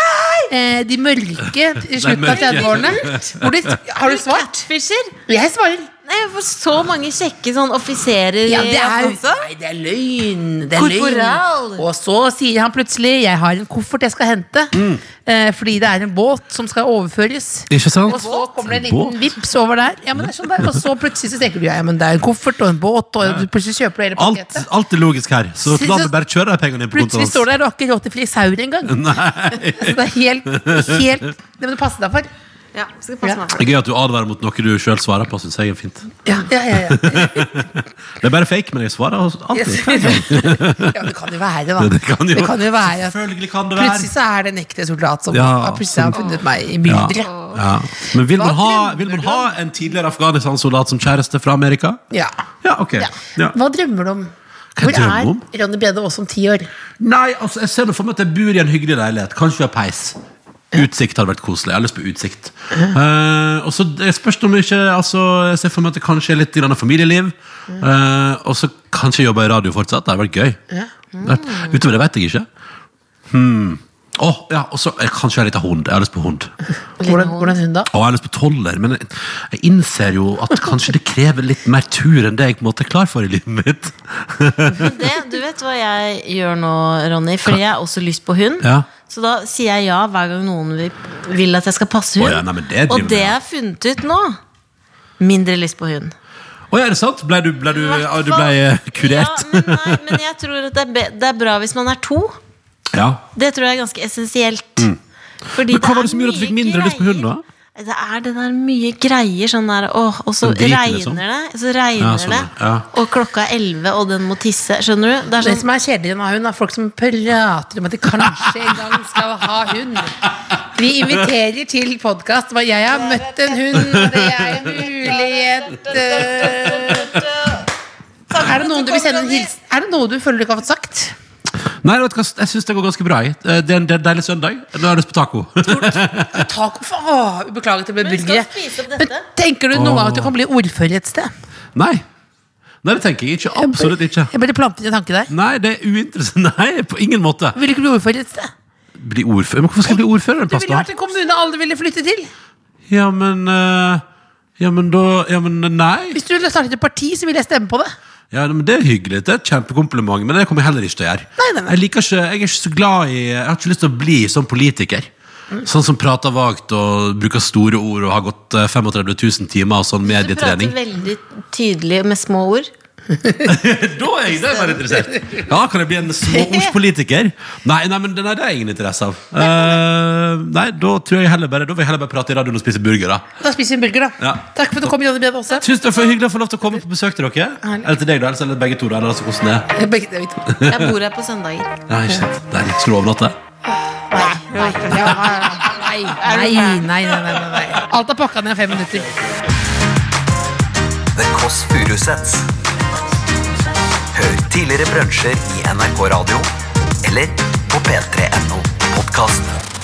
[SPEAKER 7] eh, de mørke i slutten av
[SPEAKER 5] mørke.
[SPEAKER 7] 30-årene. hvor de- Har du svart?
[SPEAKER 4] Fischer?
[SPEAKER 7] Jeg svarer.
[SPEAKER 4] Nei, jeg får så mange kjekke sånn offiserer
[SPEAKER 7] Ja, det
[SPEAKER 4] i
[SPEAKER 7] er, altså-
[SPEAKER 4] Afghanistan.
[SPEAKER 7] Eh, nei, det er løgn. Det er løgn.
[SPEAKER 4] Korporal.
[SPEAKER 7] Og så sier han plutselig 'jeg har en koffert jeg skal hente',
[SPEAKER 5] Mm.
[SPEAKER 7] eh, fordi det er en båt som skal overføres.
[SPEAKER 5] Ikke sant?
[SPEAKER 7] Og så kommer det en
[SPEAKER 5] Båt?
[SPEAKER 7] liten vips over der. Ja, men det er sånn der. Og så plutselig så tenker du ja, ja, men det er en koffert og en båt, og du plutselig kjøper du hele
[SPEAKER 5] Alt,
[SPEAKER 7] pakketet.
[SPEAKER 5] alt er logisk her. Så
[SPEAKER 7] Så-
[SPEAKER 5] la
[SPEAKER 7] så-
[SPEAKER 5] det bare kjøre de pengene inn på kontoen
[SPEAKER 7] Plutselig står du der og har ikke råd til frisaur engang.
[SPEAKER 5] Nei.
[SPEAKER 7] Så det er helt, helt Det må du passe deg for.
[SPEAKER 4] Ja, skal passe meg for.
[SPEAKER 5] Det er Gøy at du advarer mot noe du sjøl svarer på. Synes jeg er fint
[SPEAKER 7] Ja, ja, ja, ja.
[SPEAKER 5] Det er bare fake, men jeg svarer alltid.
[SPEAKER 7] ja det kan jo være, da.
[SPEAKER 5] Det kan jo-
[SPEAKER 7] det kan jo være at
[SPEAKER 5] Selvfølgelig kan det
[SPEAKER 7] Plutselig
[SPEAKER 5] være.
[SPEAKER 7] så er det en ekte soldat som
[SPEAKER 5] Ja,
[SPEAKER 7] har plutselig har funnet meg i
[SPEAKER 5] Ja.
[SPEAKER 7] mylderet.
[SPEAKER 5] Ja. Men vil man, ha, vil man ha en tidligere Afghanistan-soldat som kjæreste fra Amerika?
[SPEAKER 7] Ja.
[SPEAKER 5] Ja, ok. Ja.
[SPEAKER 7] Hva drømmer du om?
[SPEAKER 5] Hva
[SPEAKER 7] Hvor
[SPEAKER 5] jeg drømmer
[SPEAKER 7] er
[SPEAKER 5] om?
[SPEAKER 7] Ronny Brede Aas om ti år?
[SPEAKER 5] Nei, altså, jeg ser det for meg at jeg bor i en hyggelig leilighet. Kanskje vi har peis. Utsikt hadde vært koselig. Jeg har lyst på utsikt. Eh, og så det spørs det om ikke altså, Jeg ser for meg at det kanskje er litt grann familieliv. Eh, og så kanskje jobbe i radio fortsatt. Det hadde vært gøy. Vært- Utover det vet jeg ikke. Hmm. Å, ja, og så eh, kanskje jeg har litt av hund. Jeg har lyst på hund.
[SPEAKER 7] Hvordan, hvordan hun da?
[SPEAKER 5] Og jeg har lyst på toller, men jeg, jeg innser jo at kanskje det krever litt mer tur enn det jeg på en måte er klar for i livet mitt.
[SPEAKER 4] Det, du vet hva jeg gjør nå, Ronny, fordi jeg har også lyst på hund.
[SPEAKER 5] Ja.
[SPEAKER 4] Så da sier jeg ja hver gang noen vil, vil at jeg skal passe
[SPEAKER 5] Å
[SPEAKER 4] hund.
[SPEAKER 5] ja, nei, men det driver
[SPEAKER 4] og
[SPEAKER 5] du
[SPEAKER 4] det
[SPEAKER 5] med.
[SPEAKER 4] jeg har funnet ut nå Mindre lyst på hund.
[SPEAKER 5] Å, ja, er det sant? Ble du, ble du,
[SPEAKER 4] Hvert
[SPEAKER 5] ja, du ble
[SPEAKER 4] fall-
[SPEAKER 5] eh, kurert?
[SPEAKER 4] Ja, men, nei, men jeg tror at det er, be, det er bra hvis man er to.
[SPEAKER 5] Ja.
[SPEAKER 4] Det tror jeg er ganske essensielt. Fordi det
[SPEAKER 5] Mm. Men hva var
[SPEAKER 4] er
[SPEAKER 5] det som gjorde at du fikk
[SPEAKER 4] mye
[SPEAKER 5] mindre lyst på hund, da?
[SPEAKER 4] greier. Det er det der mye greier sånn der åh, Og så
[SPEAKER 5] Den driter,
[SPEAKER 4] regner
[SPEAKER 5] liksom.
[SPEAKER 4] det, så regner
[SPEAKER 5] Ja, sånn,
[SPEAKER 4] det
[SPEAKER 5] ja.
[SPEAKER 4] og klokka er elleve, og den må tisse. Skjønner du? Det er
[SPEAKER 7] Det
[SPEAKER 4] sånn,
[SPEAKER 7] som er kjedeligere med hun, er folk som prater om at de kanskje en gang skal ha hund. Vi inviterer til podkast. Jeg har møtt en hund, og det er en mulighet eh. Er det noen du vil sende en hilsen? Er det noe du føler du ikke har fått sagt?
[SPEAKER 5] Nei, vet du hva, jeg syns det går ganske bra. jeg. Eh, Det er en det er en deilig søndag. Nå har jeg lyst på taco.
[SPEAKER 7] Taco for, åh, Beklager til å bli
[SPEAKER 4] vi skal spise opp
[SPEAKER 7] bulgere.
[SPEAKER 4] dette.
[SPEAKER 7] Men tenker du noen gang at du kan bli ordfører et sted?
[SPEAKER 5] Nei. Nei, det tenker jeg ikke. Absolutt ikke.
[SPEAKER 7] Jeg bare plantet en tanke der.
[SPEAKER 5] Nei, det er uinteressant. Nei, på ingen måte.
[SPEAKER 7] Vil du ikke bli ordfører et sted?
[SPEAKER 5] Bli ordfører. Men hvorfor skal jeg bli ordfører en
[SPEAKER 7] Du
[SPEAKER 5] plass,
[SPEAKER 7] ville
[SPEAKER 5] da?
[SPEAKER 7] vært en kommune alle ville flytte til.
[SPEAKER 5] Ja, men eh, Ja, men da Ja, men eh, nei.
[SPEAKER 7] Hvis du ville startet et parti, så ville jeg stemme på det.
[SPEAKER 5] Ja, men Det er hyggelig. Det er et kjempekompliment, men det kommer jeg heller ikke til å gjøre.
[SPEAKER 7] Nei, nei, nei.
[SPEAKER 5] Jeg liker ikke, jeg er ikke så glad i Jeg har ikke lyst til å bli sånn politiker.
[SPEAKER 7] Mm.
[SPEAKER 5] Sånn som prater vagt og bruker store ord og har gått eh, 35 000 timer og sånn
[SPEAKER 4] du prater
[SPEAKER 5] medietrening.
[SPEAKER 4] veldig tydelig med små ord.
[SPEAKER 5] Da er jeg der bare interessert. Ja, Kan jeg bli en småordspolitiker? Nei, nei, men det- nei, det er jeg ingen interesse av. Eh, nei, Da tror jeg heller bare Da vil jeg heller bare prate i radioen og spise burger. da
[SPEAKER 7] Da spiser vi en burger, da.
[SPEAKER 5] Ja.
[SPEAKER 7] Takk for at du kom, Jonny Brede Aase.
[SPEAKER 5] Tusen takk for hyggelig å få lov til å komme på besøk til dere. Eller til deg, da. Eller begge to. da Eller altså hvordan det er.
[SPEAKER 7] Begge deler.
[SPEAKER 4] Jeg bor her på søndager.
[SPEAKER 5] Nei, ikke sant. Der skulle du overnatte.
[SPEAKER 7] Nei, nei, nei, nei, nei, nei, nei. Alt er pakka ned i fem minutter.
[SPEAKER 2] The Kåss Furuseths. Hør tidligere brunsjer i NRK Radio eller på p3.no podkast.